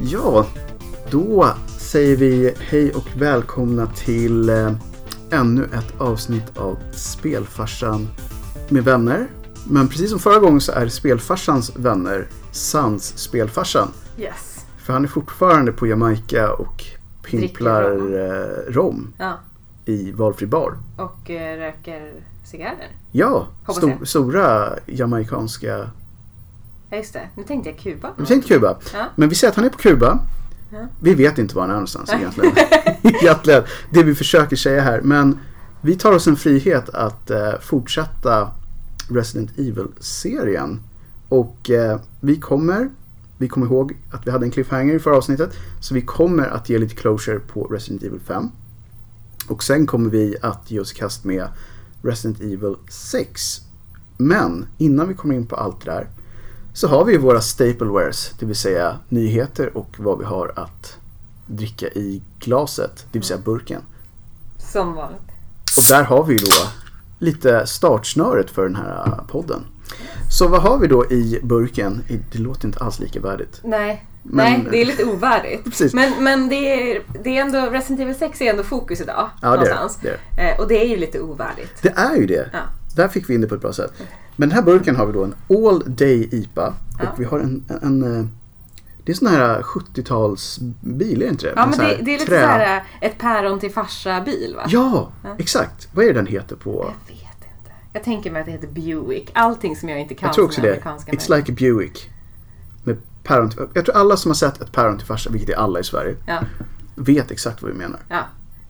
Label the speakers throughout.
Speaker 1: Ja, då säger vi hej och välkomna till eh, ännu ett avsnitt av Spelfarsan med vänner. Men precis som förra gången så är Spelfarsans vänner Sans Spelfarsan.
Speaker 2: Yes.
Speaker 1: För han är fortfarande på Jamaica och pimplar eh, rom
Speaker 2: Ja.
Speaker 1: i valfri bar.
Speaker 2: Och eh, röker cigarrer.
Speaker 1: Ja,
Speaker 2: Hoppas
Speaker 1: sto-
Speaker 2: jag.
Speaker 1: stora jamaicanska...
Speaker 2: Ja just det, nu tänkte jag Kuba.
Speaker 1: Vi tänkte Kuba.
Speaker 2: Ja.
Speaker 1: Men vi säger att han är på Kuba.
Speaker 2: Ja.
Speaker 1: Vi vet inte var han är någonstans egentligen. egentligen. Det vi försöker säga här. Men vi tar oss en frihet att eh, fortsätta Resident Evil-serien. Och eh, vi kommer, vi kommer ihåg att vi hade en cliffhanger i förra avsnittet. Så vi kommer att ge lite closure på Resident Evil 5. Och sen kommer vi att ge oss i kast med Resident Evil 6. Men innan vi kommer in på allt det där så har vi ju våra staplewares, det vill säga nyheter och vad vi har att dricka i glaset, det vill säga burken.
Speaker 2: Som vanligt.
Speaker 1: Och där har vi ju då lite startsnöret för den här podden. Så vad har vi då i burken? I- Det låter inte alls lika värdigt.
Speaker 2: Nej.
Speaker 1: Men-
Speaker 2: Nej, det är lite ovärdigt.
Speaker 1: Precis.
Speaker 2: Men, men det, är, det är ändå, Resident Evil 6 är ändå fokus idag.
Speaker 1: Ja, det är det.
Speaker 2: någonstans.
Speaker 1: det är det.
Speaker 2: Eh, och det är ju lite ovärdigt.
Speaker 1: Det är ju det.
Speaker 2: Ja.
Speaker 1: Där fick vi in det på ett bra sätt. Men den här burken har vi då en All Day IPA.
Speaker 2: Ja.
Speaker 1: Och vi har en, en, en eh, det är sån här 70-talsbil, är det inte det?
Speaker 2: Ja
Speaker 1: Med
Speaker 2: men
Speaker 1: sån här
Speaker 2: det, det är lite
Speaker 1: trä-
Speaker 2: såhär eh, ett päron till farsa bil va?
Speaker 1: Ja,
Speaker 2: Ja.
Speaker 1: exakt. Vad är det den heter på?
Speaker 2: Jag vet inte. Jag tänker mig att det heter Buick. Allting som jag inte kan
Speaker 1: Jag tror
Speaker 2: som
Speaker 1: också
Speaker 2: är
Speaker 1: det.
Speaker 2: amerikanska
Speaker 1: It's like a Buick. Med päron till, jag tror alla som har sett ett päron till farsa, vilket är alla i Sverige,
Speaker 2: Ja,
Speaker 1: vet exakt vad vi menar.
Speaker 2: ja.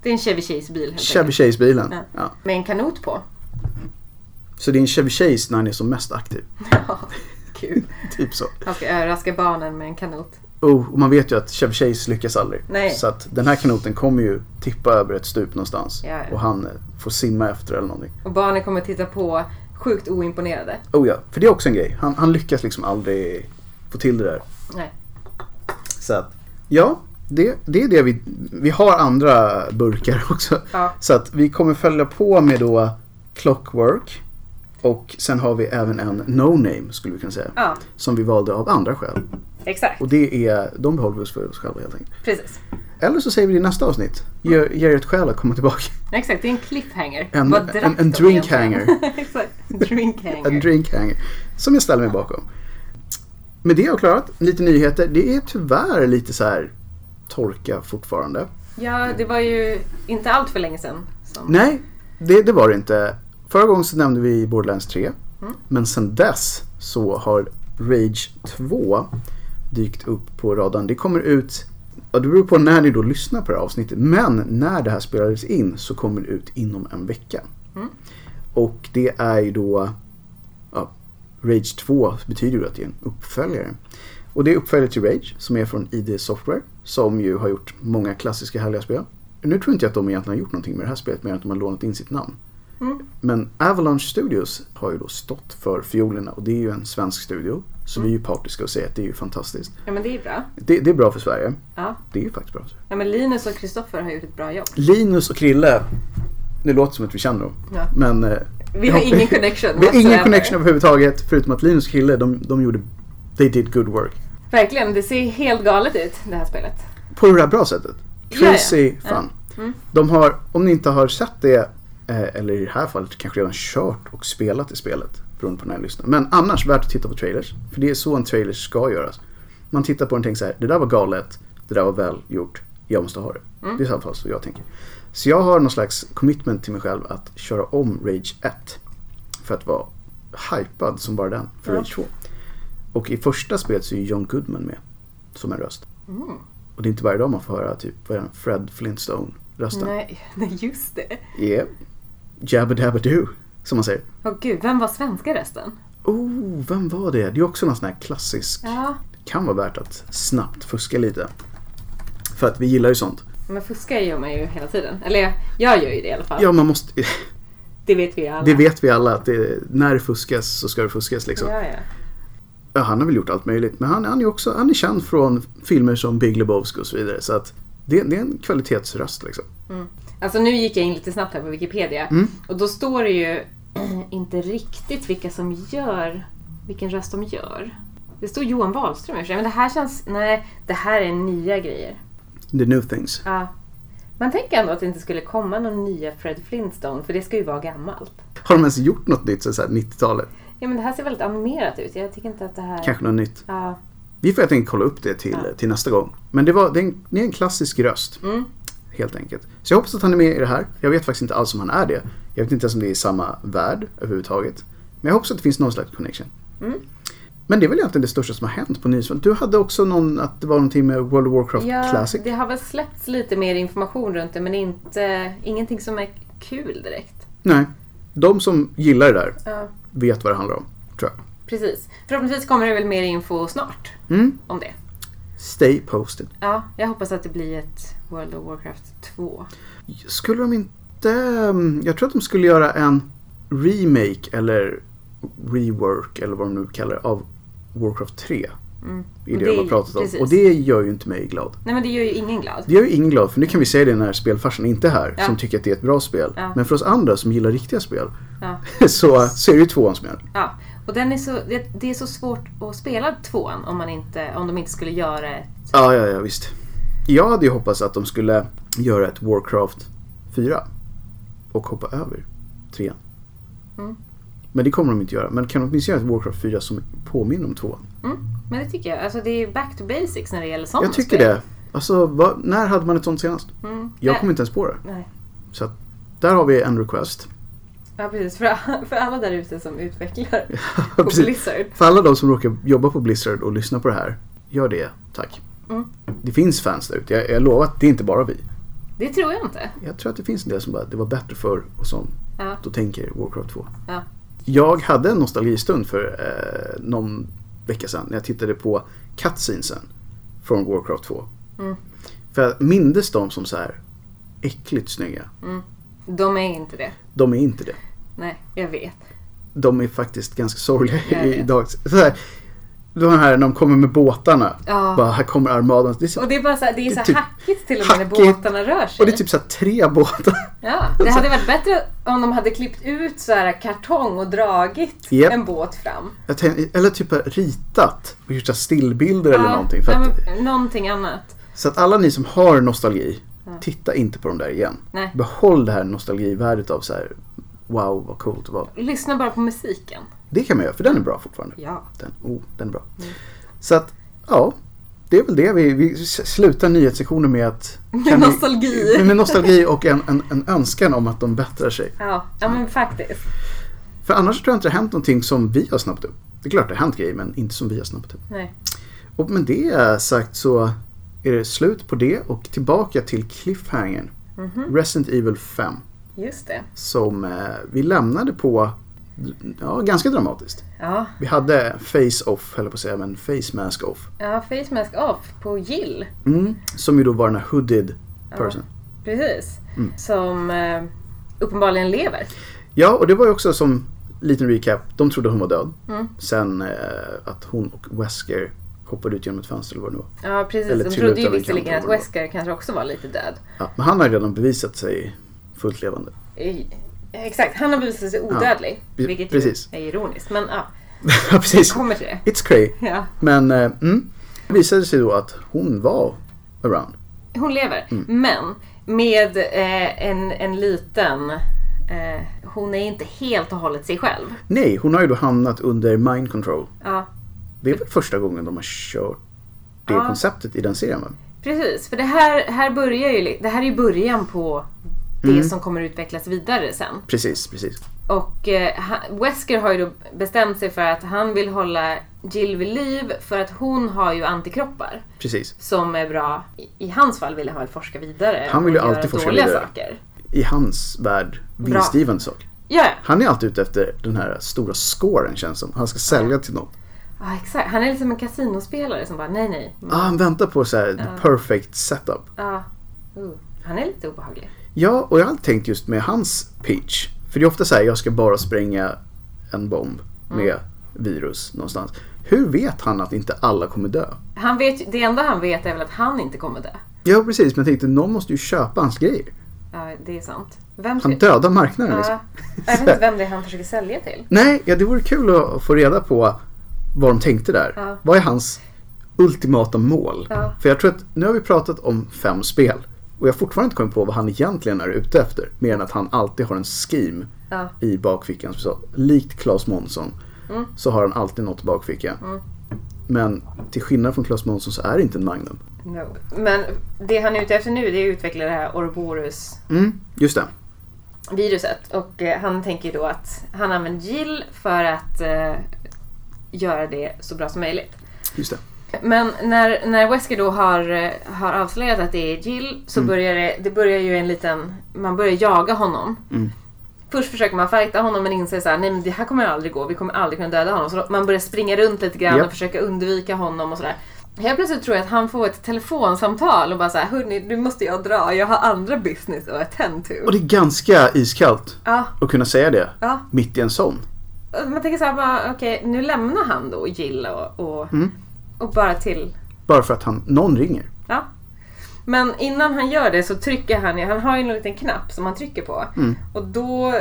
Speaker 2: Det är en Chevy Chase bil helt
Speaker 1: Chevy
Speaker 2: enkelt.
Speaker 1: Chase-bilen.
Speaker 2: Ja.
Speaker 1: Ja.
Speaker 2: Med en kanot på.
Speaker 1: Så det är en Chevy Chase när han är som mest aktiv.
Speaker 2: Ja, kul.
Speaker 1: Typ så. Oh,
Speaker 2: Han ska överraska barnen med en kanot.
Speaker 1: Och, och man vet ju att Chevy Chase lyckas aldrig.
Speaker 2: Nej.
Speaker 1: Så att den här kanoten kommer ju tippa över ett stup någonstans.
Speaker 2: Ja, ja.
Speaker 1: Och han eh, får simma efter eller någonting.
Speaker 2: Och barnen kommer titta på sjukt oimponerade.
Speaker 1: Oh ja, för det är också en grej. Han, han lyckas liksom aldrig få till det där.
Speaker 2: Nej.
Speaker 1: Så att, ja, det, det är det vi... Vi har andra burkar också.
Speaker 2: Ja.
Speaker 1: Så att vi kommer följa på med då Clockwork. Och sen har vi även en No Name skulle vi kunna säga.
Speaker 2: Ja,
Speaker 1: Som vi valde av andra skäl.
Speaker 2: exakt.
Speaker 1: Och det är, de behåller vi oss för oss själva helt enkelt.
Speaker 2: Precis.
Speaker 1: Eller så säger vi det i nästa avsnitt. Ge, ge er ett skäl att komma tillbaka.
Speaker 2: Exakt, det är en cliffhanger.
Speaker 1: En-
Speaker 2: Vad drack
Speaker 1: en- en
Speaker 2: de
Speaker 1: drinkhanger.
Speaker 2: egentligen? exakt, drinkhanger.
Speaker 1: En drinkhanger. Som jag ställer mig bakom. Med det avklarat, lite nyheter. Det är tyvärr lite så här torka fortfarande.
Speaker 2: ja, det var ju inte allt för länge sedan. Som...
Speaker 1: Nej, det, det var det inte. Förra gången så nämnde vi Borderlands 3.
Speaker 2: Mm.
Speaker 1: Men sen dess så har Rage 2 dykt upp på radarn. Det kommer ut, ja, det beror på när ni då lyssnar på det här avsnittet, men när det här spelades in så kommer det ut inom en vecka.
Speaker 2: Mm.
Speaker 1: Och det är ju då, ja, Rage 2 betyder ju att det är en uppföljare. Och det är uppföljare till Rage som är från ID Software som ju har gjort många klassiska härliga spel. Nu tror inte jag att de egentligen har gjort någonting med det här spelet mer än att de har lånat in sitt namn.
Speaker 2: Mm.
Speaker 1: Men Avalanche Studios har ju då stått för fiolerna och det är ju en svensk studio. Så vi är ju partiska och säger att det är ju fantastiskt.
Speaker 2: Ja, men det är ju bra.
Speaker 1: Det, det är bra för Sverige.
Speaker 2: Ja.
Speaker 1: Det är ju faktiskt bra för Sverige.
Speaker 2: ja, men Linus och Kristoffer har gjort ett bra jobb.
Speaker 1: Linus och Krille. Det låter som att vi känner dem.
Speaker 2: Ja.
Speaker 1: Men eh,
Speaker 2: Vi har
Speaker 1: Ja.
Speaker 2: ingen connection
Speaker 1: vi har ingen
Speaker 2: whatsoever.
Speaker 1: connection överhuvudtaget förutom att Linus och Krille, de, de gjorde... They did good work.
Speaker 2: Verkligen, det ser helt galet ut det här spelet.
Speaker 1: På det här bra sättet.
Speaker 2: Ja, ja.
Speaker 1: Crazy
Speaker 2: Ja.
Speaker 1: fun.
Speaker 2: Mm.
Speaker 1: De har, om ni inte har sett det, eh, eller i det här fallet kanske redan kört och spelat i spelet, beroende på när ni lyssnar. Men annars, värt att titta på trailers. För det är så en trailer ska göras. Man tittar på den och tänker så här, det där var galet, det där var väl gjort, jag måste ha det.
Speaker 2: Mm.
Speaker 1: Det är i alla fall så jag tänker. Så jag har någon slags commitment till mig själv att köra om Rage 1. För att vara hypad som bara den för
Speaker 2: Ja.
Speaker 1: Rage 2. Och i första spelet så är ju John Goodman med som en röst.
Speaker 2: Mm.
Speaker 1: Och det är inte varje dag man får höra typ, vad är den, Fred Flintstone-rösten.
Speaker 2: Nej, nej, just det.
Speaker 1: Yeah. Jabba dabba doo, som man säger.
Speaker 2: Åh gud, vem var svenska resten?
Speaker 1: Oh, vem var det? Det är också någon sån här klassisk.
Speaker 2: Ja,
Speaker 1: Kan vara värt att snabbt fuska lite. För att vi gillar ju sånt.
Speaker 2: men fuska gör man ju hela tiden. Eller jag- jag gör ju det i alla fall.
Speaker 1: Ja, man måste...
Speaker 2: Det vet vi ju alla.
Speaker 1: Det vet vi alla att det, när det fuskas så ska det fuskas liksom.
Speaker 2: Ja, ja.
Speaker 1: Ja, han har väl gjort allt möjligt. Men han, han är ju också han är känd från filmer som Big Lebowski och så vidare. Så att det, det är en kvalitetsröst liksom.
Speaker 2: Alltså nu gick jag in lite snabbt här på Wikipedia.
Speaker 1: Mm.
Speaker 2: Och då står det ju inte riktigt vilka som gör, vilken röst de gör. Det stod Johan Wahlström i och för sig, men det här känns... Nej, det här är nya grejer.
Speaker 1: The new things.
Speaker 2: Ja. Man tänker ändå att det inte skulle komma någon nya Fred Flintstone, för det ska ju vara gammalt.
Speaker 1: Har de ens gjort något nytt sen så här 90-talet?
Speaker 2: Ja, men det här ser väldigt animerat ut. Jag tycker inte att det här...
Speaker 1: Kanske något nytt.
Speaker 2: Ja.
Speaker 1: Vi får helt enkelt kolla upp det till,
Speaker 2: Ja.
Speaker 1: till nästa gång. Men det, var, det, är en, det är en klassisk röst.
Speaker 2: Mm.
Speaker 1: Helt enkelt. Så jag hoppas att han är med i det här. Jag vet faktiskt inte alls om han är det. Jag vet inte ens om det är i samma värld överhuvudtaget. Men jag hoppas att det finns någon slags connection.
Speaker 2: Mm.
Speaker 1: Men det är väl egentligen det största som har hänt på nyhetsfronten. Du hade också någon, att det var någonting med World of Warcraft
Speaker 2: Ja,
Speaker 1: Classic.
Speaker 2: det har väl släppts lite mer information runt det, men inte, ingenting som är kul direkt.
Speaker 1: Nej. De som gillar det där
Speaker 2: Ja.
Speaker 1: vet vad det handlar om, tror jag.
Speaker 2: Precis. Förhoppningsvis kommer det väl mer info snart
Speaker 1: Mm.
Speaker 2: om det.
Speaker 1: Stay posted.
Speaker 2: Ja, jag hoppas att det blir ett World of Warcraft 2.
Speaker 1: Skulle de inte... mm, Jag tror att de skulle göra en remake eller rework eller vad de nu kallar det av Warcraft 3.
Speaker 2: Mm.
Speaker 1: I det,
Speaker 2: Det-
Speaker 1: de har pratat om.
Speaker 2: precis.
Speaker 1: Och det gör ju inte mig glad.
Speaker 2: Nej men det gör ju ingen glad.
Speaker 1: Det gör ju ingen glad för nu kan vi säga det när spelfarsan inte är här
Speaker 2: Ja.
Speaker 1: som tycker att det är ett bra spel.
Speaker 2: Ja.
Speaker 1: Men för oss andra som gillar riktiga spel
Speaker 2: Ja.
Speaker 1: så, så är det ju tvåan som gäller.
Speaker 2: Ja. Och den är så, det, det är så svårt att spela tvåan om, man inte, om de inte skulle göra ett...
Speaker 1: Ja, ja, ja, visst. Jag hade ju hoppats att de skulle göra ett Warcraft 4 och hoppa över 3.
Speaker 2: Mm.
Speaker 1: Men det kommer de inte göra. Men kan de åtminstone göra ett Warcraft 4 som påminner om 2?
Speaker 2: Mm, men det tycker jag. Alltså det är back to basics när det gäller sådana
Speaker 1: Jag tycker det. Alltså, vad, när hade man ett sånt senast?
Speaker 2: det. Mm.
Speaker 1: Jag
Speaker 2: Nej.
Speaker 1: kommer inte ens på det.
Speaker 2: Nej.
Speaker 1: Så att, där har vi en request.
Speaker 2: Ja precis, för, för alla där ute som utvecklar på
Speaker 1: Precis.
Speaker 2: Blizzard.
Speaker 1: För alla de som råkar jobba på Blizzard och lyssna på det här, gör det, tack.
Speaker 2: Mm.
Speaker 1: Det finns fans där ute. Jag, jag lovar att det är inte bara vi.
Speaker 2: Det tror jag inte.
Speaker 1: Jag tror att det finns en del som bara, det var bättre förr och som
Speaker 2: Ja.
Speaker 1: då tänker Warcraft 2.
Speaker 2: Ja.
Speaker 1: Jag hade en nostalgistund för eh, någon vecka sedan när jag tittade på cutscenesen från Warcraft 2.
Speaker 2: Mm.
Speaker 1: För jag mindes dem som så här äckligt snygga.
Speaker 2: De är inte det.
Speaker 1: De är inte det.
Speaker 2: Nej, jag vet.
Speaker 1: De är faktiskt ganska sorgliga
Speaker 2: Jag
Speaker 1: i-
Speaker 2: vet.
Speaker 1: idag. Så här, de här när de kommer med båtarna.
Speaker 2: Ja.
Speaker 1: Bara, här kommer armadan. Det är så
Speaker 2: Och det är bara så här, det är
Speaker 1: Det är
Speaker 2: så här
Speaker 1: typ
Speaker 2: hackigt till och med när
Speaker 1: hackigt.
Speaker 2: båtarna rör sig.
Speaker 1: Och det är typ så här tre båtar.
Speaker 2: ja, det hade varit bättre om de hade klippt ut så här kartong och dragit
Speaker 1: Japp.
Speaker 2: en båt fram.
Speaker 1: Jag tänkte, eller typ har ritat och gjort så här stillbilder eller
Speaker 2: Ja,
Speaker 1: någonting. För
Speaker 2: ja,
Speaker 1: att,
Speaker 2: men någonting annat.
Speaker 1: så att alla ni som har nostalgi,
Speaker 2: Ja.
Speaker 1: titta inte på dem där igen.
Speaker 2: Nej.
Speaker 1: Behåll det här nostalgivärdet av så här, wow vad coolt det var.
Speaker 2: Lyssna bara på musiken.
Speaker 1: Det kan man göra för den är bra fortfarande.
Speaker 2: Ja.
Speaker 1: Den, oh, den är bra.
Speaker 2: Mm.
Speaker 1: Så att, ja. Det är väl det. Vi, vi s- slutar nyhetssektionen med att... kan
Speaker 2: nostalgi.
Speaker 1: Ni, med nostalgi och en, en, en önskan om att de bättrar sig.
Speaker 2: Ja, ja men faktiskt.
Speaker 1: För annars tror jag inte det har hänt någonting som vi har snappat upp. Det är klart det har hänt grejer men inte som vi har snappat upp.
Speaker 2: Nej.
Speaker 1: Och med det sagt så är det slut på det och tillbaka till cliffhangern.
Speaker 2: Mhm.
Speaker 1: Resident Evil 5.
Speaker 2: Just det.
Speaker 1: Som eh, vi lämnade på ja, ganska dramatiskt.
Speaker 2: Ja,
Speaker 1: Vi hade face-off, höll jag på att säga, men face mask-off.
Speaker 2: ja face mask off på Jill.
Speaker 1: Mm. Som ju då var den här hooded person.
Speaker 2: Precis.
Speaker 1: Mm.
Speaker 2: Som eh, uppenbarligen lever.
Speaker 1: Ja, och det var ju också som liten recap. De trodde hon var död.
Speaker 2: Mm.
Speaker 1: Sen eh, att hon och Wesker hoppade ut genom ett fönster eller vad det nu var.
Speaker 2: Ja, precis.
Speaker 1: Eller
Speaker 2: de
Speaker 1: trillade
Speaker 2: trodde
Speaker 1: ut
Speaker 2: ju
Speaker 1: över en
Speaker 2: visserligen
Speaker 1: kant
Speaker 2: att
Speaker 1: eller vad.
Speaker 2: Wesker kanske också var lite död.
Speaker 1: Ja, men han har ju redan bevisat sig fullt levande.
Speaker 2: Eh, Exakt, han har visat sig odödlig.
Speaker 1: Ja,
Speaker 2: Vilket
Speaker 1: precis.
Speaker 2: ju är ironiskt. Men ja,
Speaker 1: Ja, precis.
Speaker 2: kommer till det.
Speaker 1: It's cray.
Speaker 2: Ja.
Speaker 1: Men eh, mm, det visade sig då att hon var around.
Speaker 2: Hon lever.
Speaker 1: Mm.
Speaker 2: Men med eh, en, en liten... Eh, hon är inte helt och hållet sig själv.
Speaker 1: Nej, hon har ju då hamnat under mind control.
Speaker 2: Ja,
Speaker 1: Det är väl första gången de har kört det
Speaker 2: Ja.
Speaker 1: konceptet i den serien va?
Speaker 2: precis. För det här, här börjar ju... li- Det här är ju början på det
Speaker 1: Mm.
Speaker 2: som kommer utvecklas vidare sen.
Speaker 1: Precis, precis.
Speaker 2: Och eh, ha- Wesker har ju då bestämt sig för att han vill hålla Jill vid liv för att hon har ju antikroppar.
Speaker 1: Precis.
Speaker 2: som är bra. I, i hans fall ville han väl forska vidare.
Speaker 1: Han vill ju
Speaker 2: och göra
Speaker 1: alltid forska
Speaker 2: dåliga
Speaker 1: vidare.
Speaker 2: Saker.
Speaker 1: I hans värld, vinstgivande sak.
Speaker 2: Ja, ja.
Speaker 1: Han är alltid ute efter den här stora scoren känns som. Han ska sälja till någon.
Speaker 2: ja, exakt. Han är liksom en kasinospelare som bara nej, nej.
Speaker 1: Ah, han väntar på så här, the perfect setup.
Speaker 2: Ja. Uh, han är lite obehaglig.
Speaker 1: Ja, och jag har alltid tänkt just med hans pitch. För det är ofta så här, jag ska bara spränga en bomb med virus någonstans. Hur vet han att inte alla kommer dö?
Speaker 2: Han vet, ju- det enda han vet är väl att han inte kommer dö.
Speaker 1: Ja, precis. Men jag tänkte, någon måste ju köpa hans grejer.
Speaker 2: Ja, det är sant. Vem
Speaker 1: Han
Speaker 2: ska,
Speaker 1: dödar marknaden liksom.
Speaker 2: ja, jag vet inte vem det är han försöker sälja till.
Speaker 1: Nej, ja, det vore kul att få reda på vad de tänkte där.
Speaker 2: Ja.
Speaker 1: Vad är hans ultimata mål?
Speaker 2: Ja.
Speaker 1: För jag tror att nu har vi pratat om fem spel och jag har fortfarande inte kommit på vad han egentligen är ute efter. Mer än att han alltid har en scheme
Speaker 2: Ja.
Speaker 1: i bakfickan. Som vi sa. Likt Claes Månsson
Speaker 2: Mm.
Speaker 1: så har han alltid något i bakfickan. Men till skillnad från Claes Månsson så är det inte en Magnum.
Speaker 2: No. Men det han är ute efter nu det är att utveckla det här Ouroboros
Speaker 1: Mm, just det.
Speaker 2: viruset. Och eh, han tänker ju då att han använder gill för att eh, göra det så bra som möjligt.
Speaker 1: Just det.
Speaker 2: Men när, när Wesker då har, eh, har avslöjat att det är Jill så
Speaker 1: Mm.
Speaker 2: börjar det, det börjar ju en liten, man börjar jaga honom.
Speaker 1: Mm.
Speaker 2: Först försöker man fighta honom men inser så här, nej men det här kommer aldrig gå, vi kommer aldrig kunna döda honom. Så då- man börjar springa runt lite grann
Speaker 1: Japp.
Speaker 2: och försöka undvika honom och sådär. Helt plötsligt tror jag att han får ett telefonsamtal och bara såhär, hörni nu måste jag dra, jag har andra business att attend to.
Speaker 1: Och det är ganska iskallt
Speaker 2: Ja,
Speaker 1: att kunna säga det
Speaker 2: ja.
Speaker 1: mitt i en sån.
Speaker 2: Och Man tänker såhär, bara, okej nu lämnar han då Jill och, och,
Speaker 1: Mm.
Speaker 2: och bara till
Speaker 1: Bara för att han, någon ringer.
Speaker 2: Ja. Men innan han gör det så trycker han ju, han har ju en liten knapp som han trycker på.
Speaker 1: Mm.
Speaker 2: Och då,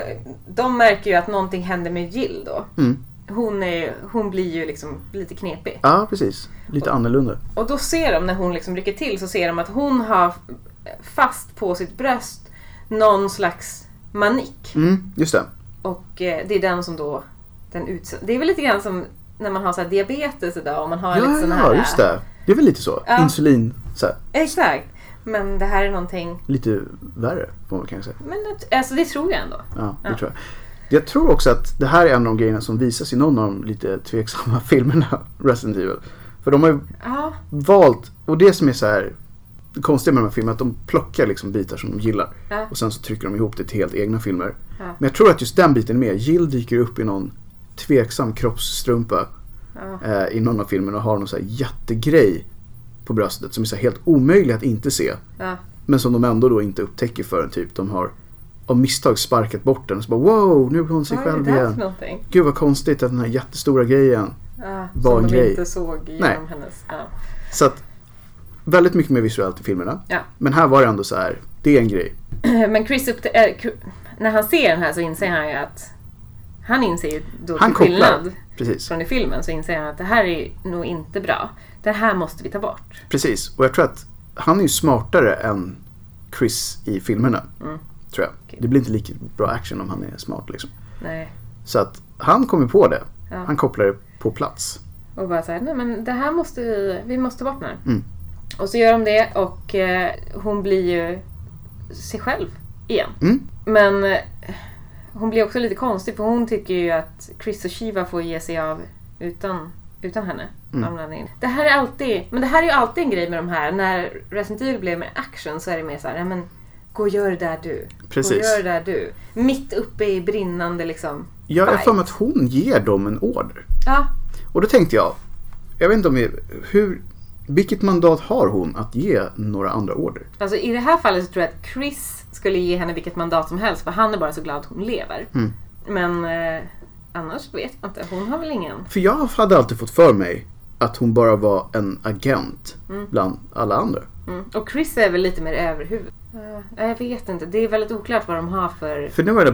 Speaker 2: de märker ju att någonting händer med Jill då.
Speaker 1: Mm.
Speaker 2: Hon, är, ju- hon blir ju liksom lite knepig.
Speaker 1: Ja, precis. Lite annorlunda.
Speaker 2: Och då ser de när hon liksom rycker till så ser de att hon har fast på sitt bröst någon slags manick.
Speaker 1: Mm, just det.
Speaker 2: Och eh, det är den som då, den utsätts. Det är väl lite grann som när man har så här diabetes idag och man har lite
Speaker 1: Ja,
Speaker 2: sån här... äh,
Speaker 1: ja, just det. Det är väl lite så.
Speaker 2: Ja.
Speaker 1: Insulin, så här,
Speaker 2: Exakt. Men det här är någonting,
Speaker 1: lite värre får man kanske säga.
Speaker 2: men det- alltså det tror jag ändå.
Speaker 1: Ja, det
Speaker 2: Ja.
Speaker 1: tror jag. Jag tror också att det här är en av de grejerna som visas i någon av de lite tveksamma filmerna, Resident Evil. För de har ju
Speaker 2: Ja,
Speaker 1: valt, och det som är så här det konstiga med de här filmerna, att de plockar liksom bitar som de gillar.
Speaker 2: Ja.
Speaker 1: Och sen så trycker de ihop det till helt egna filmer.
Speaker 2: Ja.
Speaker 1: Men jag tror att just den biten är med. Jill dyker upp i någon tveksam kroppsstrumpa
Speaker 2: Ja.
Speaker 1: eh, i någon av filmerna och har någon så här jättegrej på bröstet som är så här helt omöjlig att inte se.
Speaker 2: ja.
Speaker 1: Men som de ändå då inte upptäcker förrän typ de har av misstag sparkat bort den och så bara wow, nu är hon sig
Speaker 2: Vad är
Speaker 1: själv
Speaker 2: det där för
Speaker 1: igen.
Speaker 2: någonting?
Speaker 1: Gud vad konstigt att den här jättestora grejen.
Speaker 2: Ja,
Speaker 1: Var
Speaker 2: som
Speaker 1: en
Speaker 2: de
Speaker 1: grej.
Speaker 2: inte såg genom
Speaker 1: Nej.
Speaker 2: hennes... Ja.
Speaker 1: Så att väldigt mycket mer visuellt i filmerna.
Speaker 2: Ja.
Speaker 1: Men här var det ändå så här, det är en grej.
Speaker 2: Men Chris, upptä- äh, Cr- när han ser den här så inser han ju att... Han inser ju då
Speaker 1: Han
Speaker 2: till skillnad
Speaker 1: kopplar. Precis,
Speaker 2: från i filmen så inser han att det här är nog inte bra. Det här måste vi ta bort.
Speaker 1: precis. Och jag tror att han är ju smartare än Chris i filmerna.
Speaker 2: Mm.
Speaker 1: Tror jag. Det blir inte lika bra action om han är smart liksom.
Speaker 2: Nej.
Speaker 1: Så att han kommer på det.
Speaker 2: Ja.
Speaker 1: Han kopplar det på plats.
Speaker 2: Och bara såhär, nej men det här måste vi... Vi måste ta bort den här.
Speaker 1: Mm.
Speaker 2: Och så gör de det och eh, hon blir ju sig själv igen.
Speaker 1: Mm.
Speaker 2: Men eh, hon blir också lite konstig för hon tycker ju att Chris och Shiva får ge sig av utan, utan henne.
Speaker 1: Mm.
Speaker 2: av någon anledning. Det här är alltid men det här är ju alltid en grej med de här. När Resident Evil blev mer action så är det mer såhär, "Ja, men gå och gör det där du. Gå och
Speaker 1: Precis.
Speaker 2: gör det där du. Mitt uppe i brinnande liksom.
Speaker 1: Jag är
Speaker 2: Right.
Speaker 1: för mig att hon ger dem en order.
Speaker 2: Ja,
Speaker 1: Och då tänkte jag, jag vet inte om vi, hur, vilket mandat har hon att ge några andra order?
Speaker 2: alltså i det här fallet så tror jag att Chris skulle ge henne vilket mandat som helst för han är bara så glad att hon lever.
Speaker 1: Mm.
Speaker 2: Men eh, annars vet jag inte. Hon har väl ingen...
Speaker 1: För jag hade alltid fått för mig att hon bara var en agent bland alla andra.
Speaker 2: Mm. Och Chris är väl lite mer överhuvud. Uh, jag vet inte. Det är väldigt oklart vad de har för...
Speaker 1: För nu var det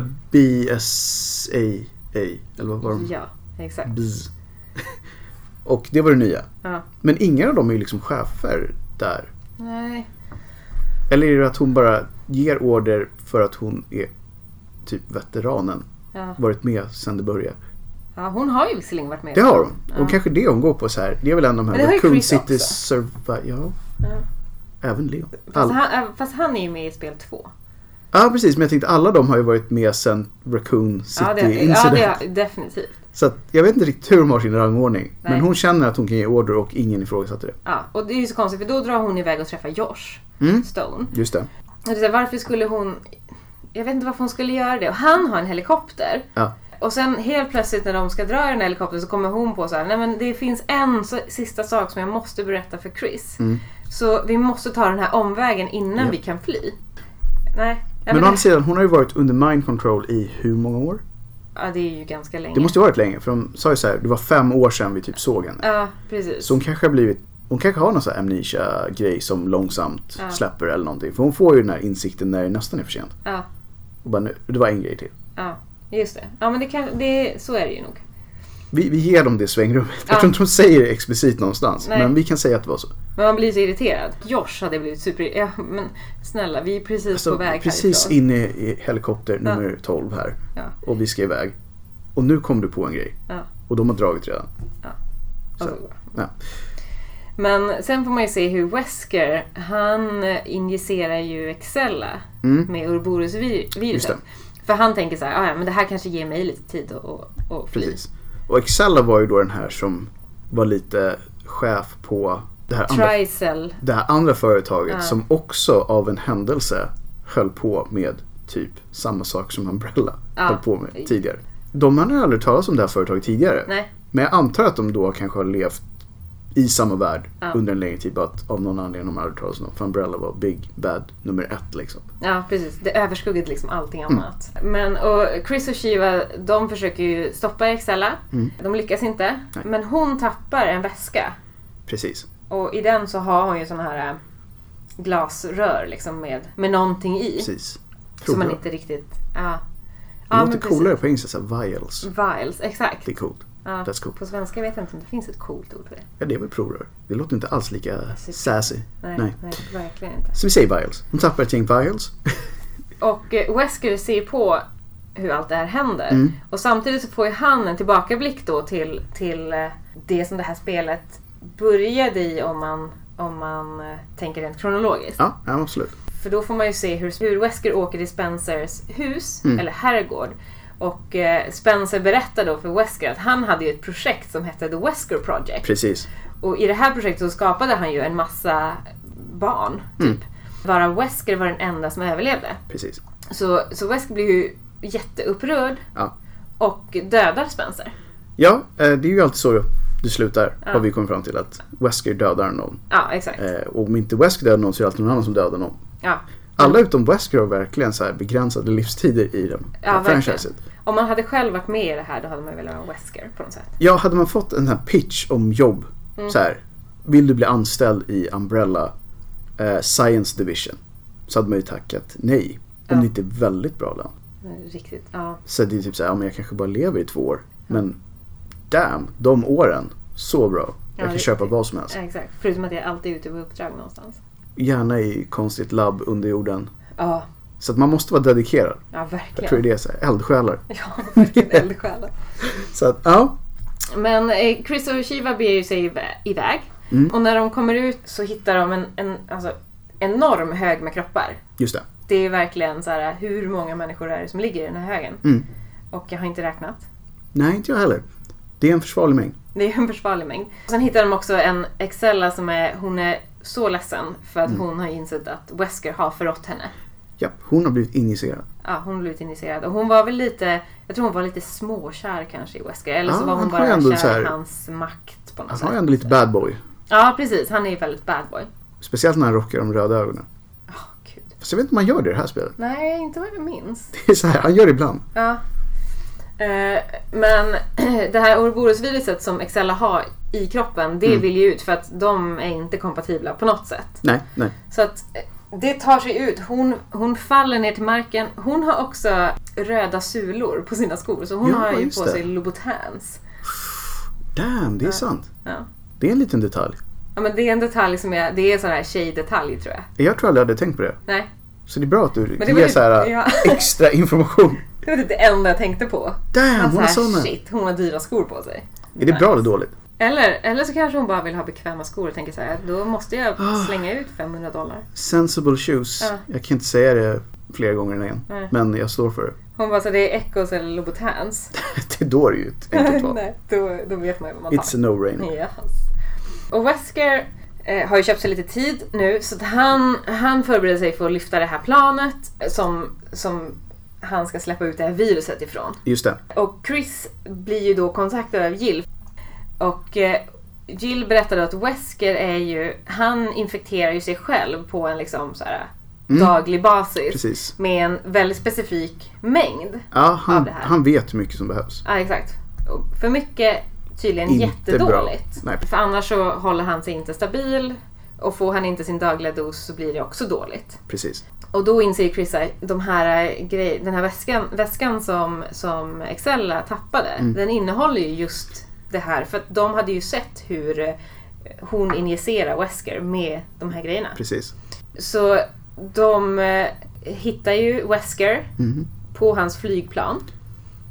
Speaker 1: BSAA, eller vad var de?
Speaker 2: Ja, exakt.
Speaker 1: Bz. Och det var det nya.
Speaker 2: Ja.
Speaker 1: Men ingen av dem är ju liksom chefer där.
Speaker 2: Nej.
Speaker 1: Eller är det att hon bara ger order för att hon är typ veteranen?
Speaker 2: Ja.
Speaker 1: Varit med sedan det började.
Speaker 2: ja, hon har ju visserligen varit med.
Speaker 1: Det har hon.
Speaker 2: Ja.
Speaker 1: Och kanske det hon går på så här. Det är väl en av de
Speaker 2: Men det
Speaker 1: här
Speaker 2: har ju
Speaker 1: Raccoon
Speaker 2: Chris
Speaker 1: City
Speaker 2: också.
Speaker 1: Survive. Ja.
Speaker 2: Ja.
Speaker 1: Även Leon.
Speaker 2: Fast,
Speaker 1: All...
Speaker 2: han, äh, fast han är ju med i spel två.
Speaker 1: Ja precis, men jag tänkte alla de har ju varit med sen Raccoon City
Speaker 2: Ja, det, ja,
Speaker 1: Incident.
Speaker 2: det har, definitivt.
Speaker 1: Så att, jag vet inte riktigt hur de har sin rangordning. Men
Speaker 2: Nej.
Speaker 1: hon känner att hon kan ge order och ingen ifrågasätter det.
Speaker 2: Ja, och det är ju så konstigt för då drar hon iväg och träffar Josh
Speaker 1: Mm.
Speaker 2: Stone.
Speaker 1: Just det.
Speaker 2: Och det är så här, varför skulle hon... Jag vet inte varför hon skulle göra det. Och han har en helikopter.
Speaker 1: Ja.
Speaker 2: Och sen helt plötsligt när de ska dra i den här helikoptern så kommer hon på så här, nej men det finns en så, sista sak som jag måste berätta för Chris. Så vi måste ta den här omvägen innan
Speaker 1: Mm. Ja.
Speaker 2: vi kan fly. Nej. Ja,
Speaker 1: Men å
Speaker 2: men
Speaker 1: andra
Speaker 2: det,
Speaker 1: sidan, hon har ju varit under mind control i hur många år?
Speaker 2: ja, det är ju ganska länge.
Speaker 1: Det måste ju ha varit länge, för de sa ju så här, det var fem år sedan vi typ såg henne.
Speaker 2: Ja, precis.
Speaker 1: Så hon kanske har blivit, hon kanske har någon sån här amnesia-grej som långsamt
Speaker 2: Ja.
Speaker 1: släpper eller någonting. För hon får ju den här insikten när det nästan är för sent.
Speaker 2: Ja,
Speaker 1: Och bara, nu, det var en grej till.
Speaker 2: ja, just det. Ja, men det kan, det, så är det ju nog.
Speaker 1: Vi, vi ger dem det svängrummet. Jag
Speaker 2: Ja.
Speaker 1: tror inte de säger det explicit någonstans.
Speaker 2: Nej.
Speaker 1: Men vi kan säga att det var så.
Speaker 2: Men man blir så irriterad. Josh hade blivit super... Ja, men snälla, vi är precis på
Speaker 1: Alltså,
Speaker 2: väg
Speaker 1: precis
Speaker 2: härifrån.
Speaker 1: in i, i helikopter nummer 12 här.
Speaker 2: Ja.
Speaker 1: Och vi ska iväg. Och nu kom du på en grej.
Speaker 2: Ja.
Speaker 1: Och de har dragit redan.
Speaker 2: Alltså,
Speaker 1: Ja.
Speaker 2: Men sen får man ju se hur Wesker, han injicerar ju Excella
Speaker 1: Mm.
Speaker 2: med
Speaker 1: Just det.
Speaker 2: Ouroboros-viruset. För han tänker så här, "Ah, ja men det här kanske ger mig lite tid att, att, att fly.
Speaker 1: Precis. Och Excella var ju då den här som var lite chef på det här andra,
Speaker 2: Tricell.
Speaker 1: det här andra företaget
Speaker 2: Ja.
Speaker 1: som också av en händelse höll på med typ samma sak som Umbrella
Speaker 2: Ja.
Speaker 1: höll på med tidigare. De hade aldrig talat om det här företaget tidigare.
Speaker 2: Nej.
Speaker 1: Men jag antar att de då kanske har levt i samma värld
Speaker 2: Ja.
Speaker 1: under en längre tid. Bara att av någon anledning har de aldrig talat om dem. För Umbrella var Big Bad nummer ett liksom.
Speaker 2: Ja, precis. Det överskuggade liksom allting
Speaker 1: Mm.
Speaker 2: annat. Men och Chris och Shiva, de försöker ju stoppa Excella. De lyckas inte.
Speaker 1: Mm. Nej.
Speaker 2: Men hon tappar en väska.
Speaker 1: Precis.
Speaker 2: Och i den så har hon ju såna här äh, glasrör liksom med, med någonting i.
Speaker 1: Precis.
Speaker 2: Som man
Speaker 1: jag.
Speaker 2: inte riktigt... Ja.
Speaker 1: Det låter
Speaker 2: men
Speaker 1: coolare på engelska. Så här, vials.
Speaker 2: precis. Vials, exakt.
Speaker 1: Det är coolt.
Speaker 2: Ja.
Speaker 1: That's cool.
Speaker 2: På svenska vet jag inte om det finns ett coolt ord för det.
Speaker 1: Ja, det är väl provrör. Det låter inte alls lika
Speaker 2: Precis.
Speaker 1: sassy.
Speaker 2: Nej,
Speaker 1: Nej.
Speaker 2: nej. verkligen inte.
Speaker 1: Så vi säger vials. Hon tappar ett gäng vials.
Speaker 2: Och eh, Wesker ser på hur allt det här händer.
Speaker 1: Mm.
Speaker 2: Och samtidigt så får ju han en tillbakablick då till, till eh, det som det här spelet började i om man, om man eh, tänker rent kronologiskt.
Speaker 1: Ja, ja absolut.
Speaker 2: För då får man ju se hur, hur Wesker åker till Spencers hus,
Speaker 1: Mm.
Speaker 2: eller herrgård. Och eh, Spencer berättar då för Wesker att han hade ju ett projekt som hette The Wesker Project.
Speaker 1: Precis.
Speaker 2: Och i det här projektet så skapade han ju en massa barn, typ.
Speaker 1: Mm.
Speaker 2: Varav Wesker var den enda som överlevde.
Speaker 1: Precis.
Speaker 2: Så, så Wesker blir ju jätteupprörd
Speaker 1: Ja.
Speaker 2: och dödar Spencer.
Speaker 1: Ja, eh, det är ju alltid så det slutar. Har vi kommit fram till. Att Wesker dödar någon.
Speaker 2: Ja, exakt.
Speaker 1: Eh, och om inte Wesker dödar någon så är det alltid någon annan som dödar någon.
Speaker 2: Ja.
Speaker 1: Alla utom Wesker har verkligen så här begränsade livstider i den
Speaker 2: Ja,
Speaker 1: ja, franchiset.
Speaker 2: Om man hade själv varit med i det här då hade man ju velat vara Wesker på något sätt.
Speaker 1: Ja, hade man fått en sån här pitch om jobb.
Speaker 2: Mm.
Speaker 1: Så här, vill du bli anställd i Umbrella eh, Science Division? Så hade man ju tackat nej. Om
Speaker 2: Ja.
Speaker 1: det inte är väldigt bra lön.
Speaker 2: Men Riktigt, ja.
Speaker 1: Så det är typ så här, ja, men jag kanske bara lever i två år. Men damn, de åren. Så bra. Jag
Speaker 2: Ja,
Speaker 1: kan
Speaker 2: det-
Speaker 1: köpa vad som helst.
Speaker 2: ja, exakt. Förutom att jag alltid är ute på uppdrag någonstans.
Speaker 1: Gärna i konstigt labb under jorden.
Speaker 2: Ja,
Speaker 1: Så att man måste vara dedikerad.
Speaker 2: ja
Speaker 1: Jag tror
Speaker 2: verkligen.
Speaker 1: det är så här, eldsjälar.
Speaker 2: Ja, verkligen eldsjälar.
Speaker 1: Så att, ja.
Speaker 2: Men eh, Chris och Shiva beger ju sig ivä- iväg.
Speaker 1: Mm.
Speaker 2: Och när de kommer ut så hittar de en, en alltså, enorm hög med kroppar.
Speaker 1: Just det.
Speaker 2: Det är verkligen så här, hur många människor är det som ligger i den här högen?
Speaker 1: Mm.
Speaker 2: Och jag har inte räknat.
Speaker 1: Nej, inte jag heller. Det är en försvarlig mängd.
Speaker 2: Det är en försvarlig mängd. Sen hittar de också en Excella som är, hon är så ledsen för
Speaker 1: Mm.
Speaker 2: att hon har insett att Wesker har förrått henne.
Speaker 1: Ja, hon har blivit injicerad.
Speaker 2: Ja, hon har blivit initierad. Och hon var väl lite, jag tror hon var lite småkär kanske i Wesker. Eller så
Speaker 1: Ja,
Speaker 2: var
Speaker 1: han
Speaker 2: hon
Speaker 1: har ju
Speaker 2: bara
Speaker 1: ändå så
Speaker 2: kär
Speaker 1: här-
Speaker 2: i hans makt på något
Speaker 1: Han
Speaker 2: sätt.
Speaker 1: har ju ändå lite bad boy.
Speaker 2: Ja, precis. Han är ju väldigt bad boy.
Speaker 1: Speciellt när han rockar de röda ögonen.
Speaker 2: Åh, gud.
Speaker 1: Fast jag vet inte om han gör det i det här spelet.
Speaker 2: Nej, inte vad jag minns.
Speaker 1: Det är så här, han gör det ibland.
Speaker 2: Ja. Eh, men det här Ouroborosviruset som Excella har i kroppen,
Speaker 1: Mm.
Speaker 2: det vill ju ut för att de är inte kompatibla på något sätt.
Speaker 1: Nej, nej.
Speaker 2: Så att eh, det tar sig ut. Hon, hon faller ner till marken. Hon har också röda sulor på sina skor. Så hon
Speaker 1: Ja,
Speaker 2: har ju
Speaker 1: just
Speaker 2: på
Speaker 1: det.
Speaker 2: sig Louboutins.
Speaker 1: Damn, det är sant.
Speaker 2: Ja.
Speaker 1: Det är en liten detalj.
Speaker 2: ja, men det är en detalj som jag... Det är en sån här tjejdetalj tror jag.
Speaker 1: Jag tror aldrig jag hade tänkt på det.
Speaker 2: Nej,
Speaker 1: Så det är bra att du
Speaker 2: det var
Speaker 1: ger
Speaker 2: ju-
Speaker 1: så här
Speaker 2: ja.
Speaker 1: extra information.
Speaker 2: det var typ det enda jag tänkte på.
Speaker 1: Damn, hon har
Speaker 2: så här,
Speaker 1: såna.
Speaker 2: shit, hon har dyra skor på sig.
Speaker 1: Är det bra eller dåligt?
Speaker 2: Eller, eller så kanske hon bara vill ha bekväma skor och tänker så här, då måste jag
Speaker 1: Ah.
Speaker 2: slänga ut 500 dollar.
Speaker 1: Sensible shoes.
Speaker 2: Ja.
Speaker 1: Jag kan inte säga det flera gånger än en.
Speaker 2: Nej.
Speaker 1: Men jag står för det.
Speaker 2: Hon bara, så det är Echos eller Louboutins.
Speaker 1: Det då är det ju ett enkelt val.
Speaker 2: Nej, då, då vet man ju vad man tar.
Speaker 1: It's a no-rain.
Speaker 2: Yes. Och Wesker eh, har ju köpt sig lite tid nu så att han, han förbereder sig för att lyfta det här planet som, som han ska släppa ut det här viruset ifrån.
Speaker 1: Just det.
Speaker 2: Och Chris blir ju då kontaktad av Jill. Och eh, Jill berättade att Wesker är ju, han infekterar ju sig själv på en liksom så här daglig basis.
Speaker 1: Mm. Precis.
Speaker 2: Med en väldigt specifik mängd.
Speaker 1: Ja,
Speaker 2: Av
Speaker 1: han,
Speaker 2: det här.
Speaker 1: han vet hur mycket som behövs.
Speaker 2: Ja, exakt. Och För mycket tydligen
Speaker 1: Inte bra.
Speaker 2: jättedåligt.
Speaker 1: Nej.
Speaker 2: För annars så håller han sig inte stabil Och får han inte sin dagliga dos så blir det också dåligt.
Speaker 1: Precis.
Speaker 2: Och då inser Chris att de här eh, grej, den här väskan, väskan som, som Excella tappade, den innehåller ju just det här. För att de hade ju sett hur eh, hon injicerar Wesker med de här grejerna.
Speaker 1: Precis.
Speaker 2: Så de eh, hittar ju Wesker
Speaker 1: Mhm.
Speaker 2: på hans flygplan.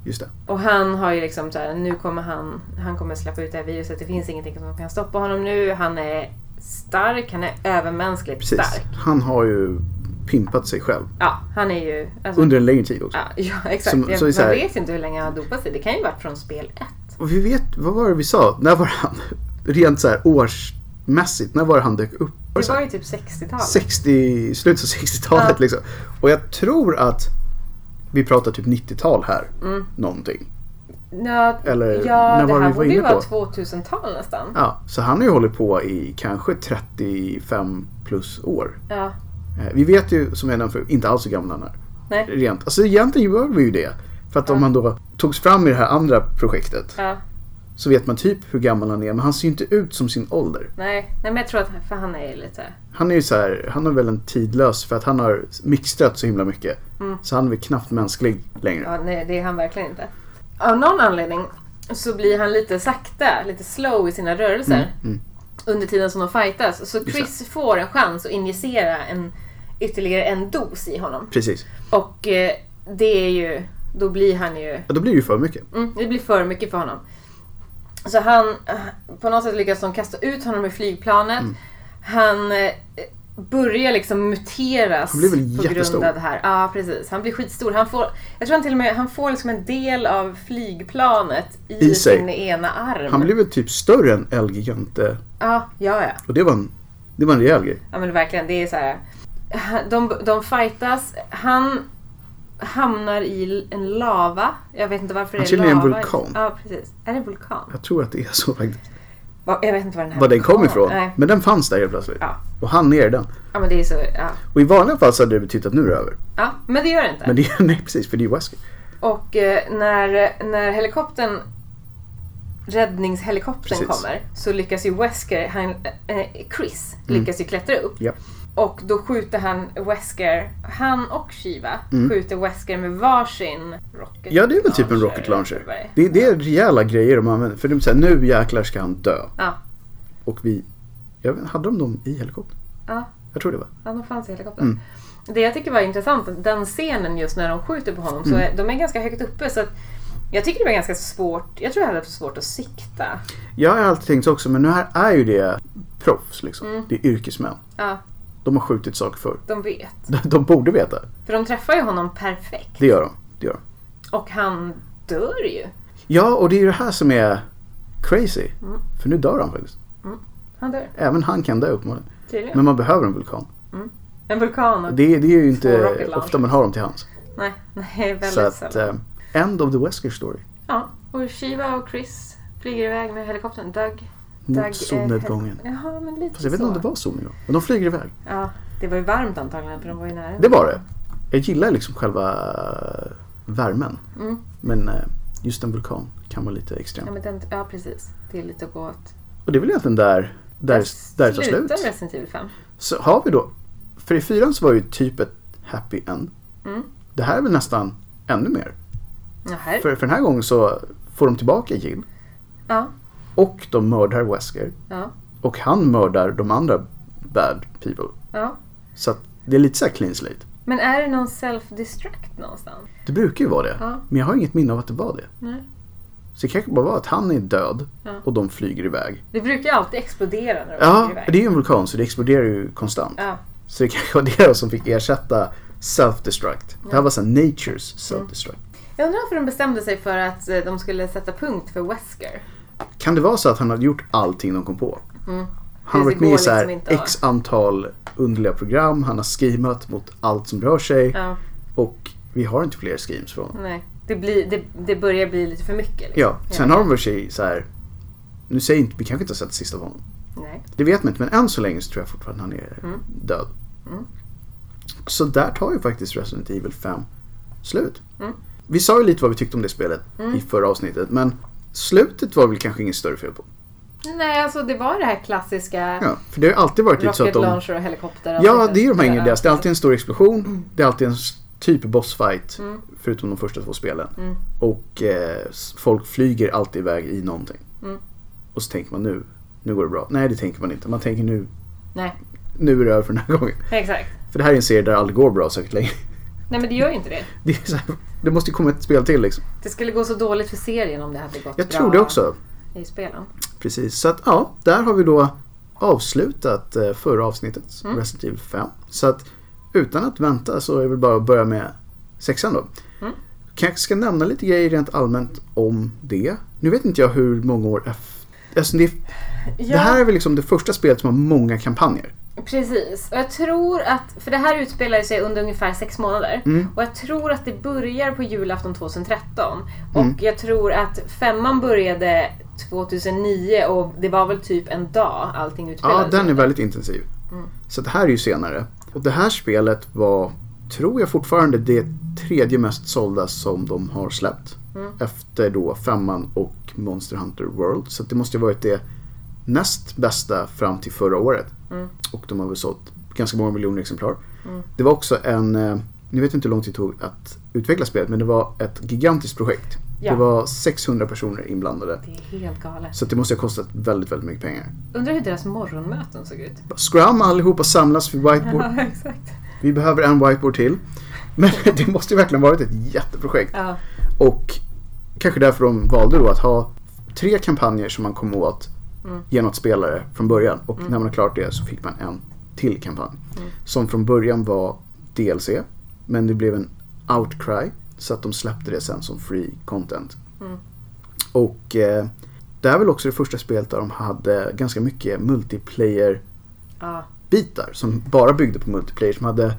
Speaker 1: Just det.
Speaker 2: Och han har ju liksom så här, nu kommer han, han kommer släppa ut det här viruset. Det finns ingenting som kan stoppa honom nu. Han är stark, han är övermänskligt
Speaker 1: Precis.
Speaker 2: stark.
Speaker 1: Han har ju pimpat sig själv
Speaker 2: Ja, han är ju... Alltså,
Speaker 1: under en längre tid också.
Speaker 2: ja, ja, exakt.
Speaker 1: Som-
Speaker 2: Jag-
Speaker 1: så det är
Speaker 2: man
Speaker 1: så här-
Speaker 2: vet inte hur länge han har dopat sig. Det kan ju varit från spel ett.
Speaker 1: Och vi vet, vad var det vi sa? När var han, rent så här årsmässigt, när var det han dök upp? Var det
Speaker 2: Det
Speaker 1: så här
Speaker 2: var ju typ 60-talet.
Speaker 1: 60, slutet av 60-talet
Speaker 2: Ja.
Speaker 1: liksom. Och jag tror att vi pratar typ 90-tal här.
Speaker 2: Mm.
Speaker 1: Någonting.
Speaker 2: Ja,
Speaker 1: Eller
Speaker 2: ja
Speaker 1: när var
Speaker 2: det
Speaker 1: vi var
Speaker 2: här borde ju
Speaker 1: inne
Speaker 2: vara
Speaker 1: på?
Speaker 2: 2000-tal nästan.
Speaker 1: Ja, så han har ju hållit på i kanske 35 plus år.
Speaker 2: Ja.
Speaker 1: Eh, Vi vet ju, som jag nämnde förut, inte alls hur gammal han är.
Speaker 2: Nej.
Speaker 1: Rent. Alltså egentligen gör vi ju det. För att om han då togs fram i det här andra projektet
Speaker 2: ja.
Speaker 1: så vet man typ hur gammal han är. Men han ser ju inte ut som sin ålder.
Speaker 2: Nej. Nej, men jag tror att för han är lite...
Speaker 1: Han är ju så här, han har väl en tidlös för att han har mixtrat så himla mycket. Så han är väl knappt mänsklig längre.
Speaker 2: Mm. Ja, nej, det är han verkligen inte. Av någon anledning så blir han lite sakta, lite slow i sina rörelser
Speaker 1: Mm,
Speaker 2: under tiden som de fightas. Så Chris får en chans att injicera en, ytterligare en dos i honom.
Speaker 1: Precis.
Speaker 2: Och eh, det är ju, då blir han ju,
Speaker 1: Ja, då blir det ju för mycket.
Speaker 2: mm, det blir för mycket för honom. Så han, eh, på något sätt lyckas de kasta ut honom ur flygplanet.
Speaker 1: Mm.
Speaker 2: Han eh, börjar liksom muteras
Speaker 1: Han blir väl
Speaker 2: på grund
Speaker 1: jättestor.
Speaker 2: av det här. Ja, precis. Han blir skitstor. Han får, jag tror han till och med, han får liksom en del av flygplanet i,
Speaker 1: I sig.
Speaker 2: sin ena arm.
Speaker 1: Han blev väl typ större än El Gigante.
Speaker 2: Ja, ja, ja.
Speaker 1: Och det var en, det var en rejäl grej.
Speaker 2: Ja men verkligen, det är så här. De, de fightas, han hamnar i en lava. Jag vet inte varför
Speaker 1: Han
Speaker 2: det är
Speaker 1: tillhör
Speaker 2: lava.
Speaker 1: en vulkan.
Speaker 2: Ja precis. Är det en vulkan?
Speaker 1: Jag tror att det är så faktiskt.
Speaker 2: Va- Jag vet inte var den här
Speaker 1: Var den kom
Speaker 2: vulkanen-
Speaker 1: ifrån.
Speaker 2: Nej.
Speaker 1: Men den fanns där helt plötsligt.
Speaker 2: Ja.
Speaker 1: Och han ner den.
Speaker 2: Ja men det är så, ja.
Speaker 1: Och i vanliga fall så hade det betytt att nu är det över.
Speaker 2: ja men det gör det inte.
Speaker 1: Men det är, nej precis, för det är ju Wesker.
Speaker 2: Och eh, när, när helikoptern räddningshelikoptern
Speaker 1: Precis.
Speaker 2: kommer så lyckas ju Wesker, han, eh, Chris
Speaker 1: Mm.
Speaker 2: lyckas ju klättra upp.
Speaker 1: Japp.
Speaker 2: Och då skjuter han Wesker, han och Shiva skjuter Wesker med varsin rocket
Speaker 1: Mm. Ja, det är väl typ en rocket
Speaker 2: eller vad det är.
Speaker 1: launcher. Det, det är rejäla grejer de använder. För de säger nu jäklar ska han dö.
Speaker 2: Ja,
Speaker 1: Och vi... Jag vet, inte, hade de dem i helikoptern?
Speaker 2: ja,
Speaker 1: Jag tror det var.
Speaker 2: ja, de fanns i helikoptern.
Speaker 1: Mm.
Speaker 2: Det jag tycker var intressant, att den scenen just när de skjuter på honom, så
Speaker 1: Mm.
Speaker 2: är, de är ganska högt uppe så att jag tycker det var ganska svårt, jag tror jag hade haft svårt att sikta.
Speaker 1: Jag har alltid tänkt så också, men nu här är ju det proffs liksom.
Speaker 2: Mm.
Speaker 1: Det är yrkesmän.
Speaker 2: Ja,
Speaker 1: De har skjutit saker förr.
Speaker 2: de vet.
Speaker 1: De, de borde veta.
Speaker 2: För de träffar ju honom perfekt.
Speaker 1: Det gör de. Det gör de.
Speaker 2: Och han dör ju.
Speaker 1: Ja, och det är ju det här som är crazy.
Speaker 2: Mm.
Speaker 1: För nu dör han faktiskt.
Speaker 2: Han dör
Speaker 1: Även han kan dö uppenbarligen.
Speaker 2: tydligen.
Speaker 1: Men man behöver en vulkan.
Speaker 2: Mm. En vulkan. Och...
Speaker 1: Det, är- det är ju
Speaker 2: Två
Speaker 1: inte
Speaker 2: rocket launchers.
Speaker 1: ofta man har dem till hands.
Speaker 2: Nej, nej,
Speaker 1: Så
Speaker 2: väldigt
Speaker 1: att,
Speaker 2: sällan.
Speaker 1: eh, end of the Wesker story.
Speaker 2: Ja, och Shiva och Chris flyger iväg med helikoptern. Doug. Doug är
Speaker 1: Mot solnedgången.
Speaker 2: hel- Ja, men lite
Speaker 1: Fast jag vet
Speaker 2: så.
Speaker 1: inte om det var solnedgång. Men de flyger iväg.
Speaker 2: Ja, det var ju varmt antagligen för de var ju nära.
Speaker 1: Det var det. Jag gillar liksom själva eh, värmen.
Speaker 2: Mm.
Speaker 1: Men eh, just en vulkan kan vara lite extrem.
Speaker 2: Ja, men den, ja, precis. Det är lite att gå åt.
Speaker 1: Och det är väl egentligen där, där, där det tar
Speaker 2: Slutar
Speaker 1: slut.
Speaker 2: med Resident Evil 5.
Speaker 1: Så har vi då, för i fyran så var ju typ ett happy end.
Speaker 2: Mm.
Speaker 1: Det här är väl nästan ännu mer.
Speaker 2: Ja, här.
Speaker 1: För, för den här gången så får de tillbaka Jill
Speaker 2: Ja,
Speaker 1: och de mördar Wesker.
Speaker 2: ja,
Speaker 1: Och han mördar de andra bad people.
Speaker 2: ja.
Speaker 1: Så att det är lite så här clean slate.
Speaker 2: Men är det någon self-destruct någonstans?
Speaker 1: Det brukar ju vara det.
Speaker 2: Ja.
Speaker 1: Men jag har inget minne av att det var det.
Speaker 2: Nej.
Speaker 1: Så det kanske bara var att han är död
Speaker 2: Ja.
Speaker 1: och de flyger iväg.
Speaker 2: Det brukar ju alltid explodera när de
Speaker 1: Ja,
Speaker 2: flyger iväg.
Speaker 1: det är ju en vulkan så det exploderar ju konstant.
Speaker 2: Ja,
Speaker 1: Så det kanske var det som fick ersätta self-destruct. Det här var såhär natures self-destruct.
Speaker 2: Jag undrar varför de bestämde sig för att eh, de skulle sätta punkt för Wesker.
Speaker 1: Kan det vara så att han hade gjort allting de kom på? Han har
Speaker 2: Mm. Det
Speaker 1: varit med
Speaker 2: går
Speaker 1: i så här
Speaker 2: liksom inte, va?
Speaker 1: x antal underliga program, han har schemat mot allt som rör sig
Speaker 2: Ja,
Speaker 1: och vi har inte fler schemes från
Speaker 2: nej. Det, blir, det, det börjar bli lite för mycket. Liksom.
Speaker 1: Ja, sen har de väl sig så här. nu säger inte, vi kanske inte har sett sista av honom.
Speaker 2: Nej.
Speaker 1: Det vet man inte, men än så länge så tror jag fortfarande han är
Speaker 2: Mm.
Speaker 1: död. Så där tar ju faktiskt Resident Evil 5 slut.
Speaker 2: Mm.
Speaker 1: Vi sa ju lite vad vi tyckte om det spelet i förra avsnittet, men slutet var väl kanske inget större fel på.
Speaker 2: Nej, alltså det var det här klassiska
Speaker 1: Ja, för det har ju alltid varit lite så att
Speaker 2: rocket
Speaker 1: de...
Speaker 2: launcher och helikopter.
Speaker 1: Ja, det är Mm. ju de här ingredienserna. Det är alltid en stor explosion. Det är alltid en s- typ bossfight. Förutom de första två spelen.
Speaker 2: Mm.
Speaker 1: Och eh, s- folk flyger alltid iväg i någonting.
Speaker 2: Mm.
Speaker 1: Och så tänker man nu, nu går det bra. Nej, det tänker man inte. Man tänker nu,
Speaker 2: Nej,
Speaker 1: nu är det över för den här gången.
Speaker 2: exakt.
Speaker 1: För det här är en serie där det aldrig går bra säkert längre.
Speaker 2: Nej, men det gör ju inte det.
Speaker 1: Det, är så här, det måste ju komma ett spel till liksom.
Speaker 2: Det skulle gå så dåligt för serien om det hade gått
Speaker 1: Jag
Speaker 2: bra
Speaker 1: tror det också.
Speaker 2: i spelen.
Speaker 1: Precis, så att ja, där har vi då avslutat eh, förra avsnittet,
Speaker 2: Mm.
Speaker 1: Resident Evil 5. Så att utan att vänta så är det väl bara att börja med sexan då.
Speaker 2: Mm.
Speaker 1: Kanske ska nämna lite grejer rent allmänt om det. Nu vet inte jag hur många år efter. Alltså det,
Speaker 2: Ja,
Speaker 1: det här är väl liksom det första spelet som har många kampanjer.
Speaker 2: precis. Och jag tror att, för det här utspelar sig under ungefär sex månader.
Speaker 1: Mm.
Speaker 2: Och jag tror att det börjar på julafton 2013. Och
Speaker 1: Mm.
Speaker 2: jag tror att femman började 2009 och det var väl typ en dag allting
Speaker 1: Ja,
Speaker 2: utspelades.
Speaker 1: den är väldigt intensiv.
Speaker 2: Mm.
Speaker 1: Så det här är ju senare. Och det här spelet var, tror jag fortfarande, det tredje mest sålda som de har släppt.
Speaker 2: Mm.
Speaker 1: Efter då femman och Monster Hunter World. Så att det måste ju varit det näst bästa fram till förra året.
Speaker 2: Mm.
Speaker 1: Och de har väl sålt ganska många miljoner exemplar.
Speaker 2: Mm.
Speaker 1: Det var också en, eh, nu vet jag inte hur lång tid det tog att utveckla spelet, men det var ett gigantiskt projekt.
Speaker 2: Ja.
Speaker 1: Det var 600 personer inblandade.
Speaker 2: Det är helt galet.
Speaker 1: Så att det måste ha kostat väldigt, väldigt mycket pengar.
Speaker 2: Undrar hur deras morgonmöten såg ut.
Speaker 1: Scrum, allihopa samlas vid whiteboard.
Speaker 2: Ja, exakt.
Speaker 1: Vi behöver en whiteboard till. Men det måste ju verkligen varit ett jätteprojekt.
Speaker 2: Ja.
Speaker 1: Och kanske därför de valde då att ha tre kampanjer som man kom åt
Speaker 2: Mm.
Speaker 1: genom att spela det från början. Och när man har klart det så fick man en till kampanj.
Speaker 2: Mm.
Speaker 1: Som från början var DLC. Men det blev en outcry. Så att de släppte det sen som free content.
Speaker 2: Mm.
Speaker 1: Och eh, det här är väl också det första spelet där de hade ganska mycket multiplayer
Speaker 2: ja.
Speaker 1: bitar som bara byggde på multiplayer. Som hade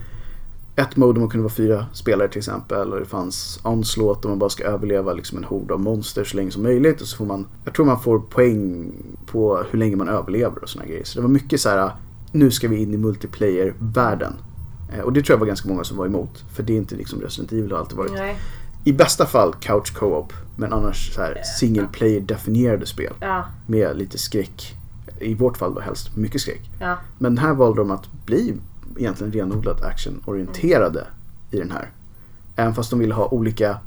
Speaker 1: ett mode där man kunde vara fyra spelare till exempel. Och det fanns onslåt där man bara ska överleva liksom en hord av monster så länge som möjligt. Och så får man, jag tror man får poäng på hur länge man överlever och sådana grejer. Så det var mycket så här, nu ska vi in i multiplayer-världen. Eh, Och det tror jag var ganska många som var emot. För det är inte liksom Resident Evil har alltid varit.
Speaker 2: Nej.
Speaker 1: I bästa fall couch co-op. Men annars så här single player definierade spel.
Speaker 2: Ja.
Speaker 1: Med lite skräck. I vårt fall då helst mycket skräck.
Speaker 2: Ja.
Speaker 1: Men här valde de att bli egentligen renodlat actionorienterade i den här. Även fast de ville ha olika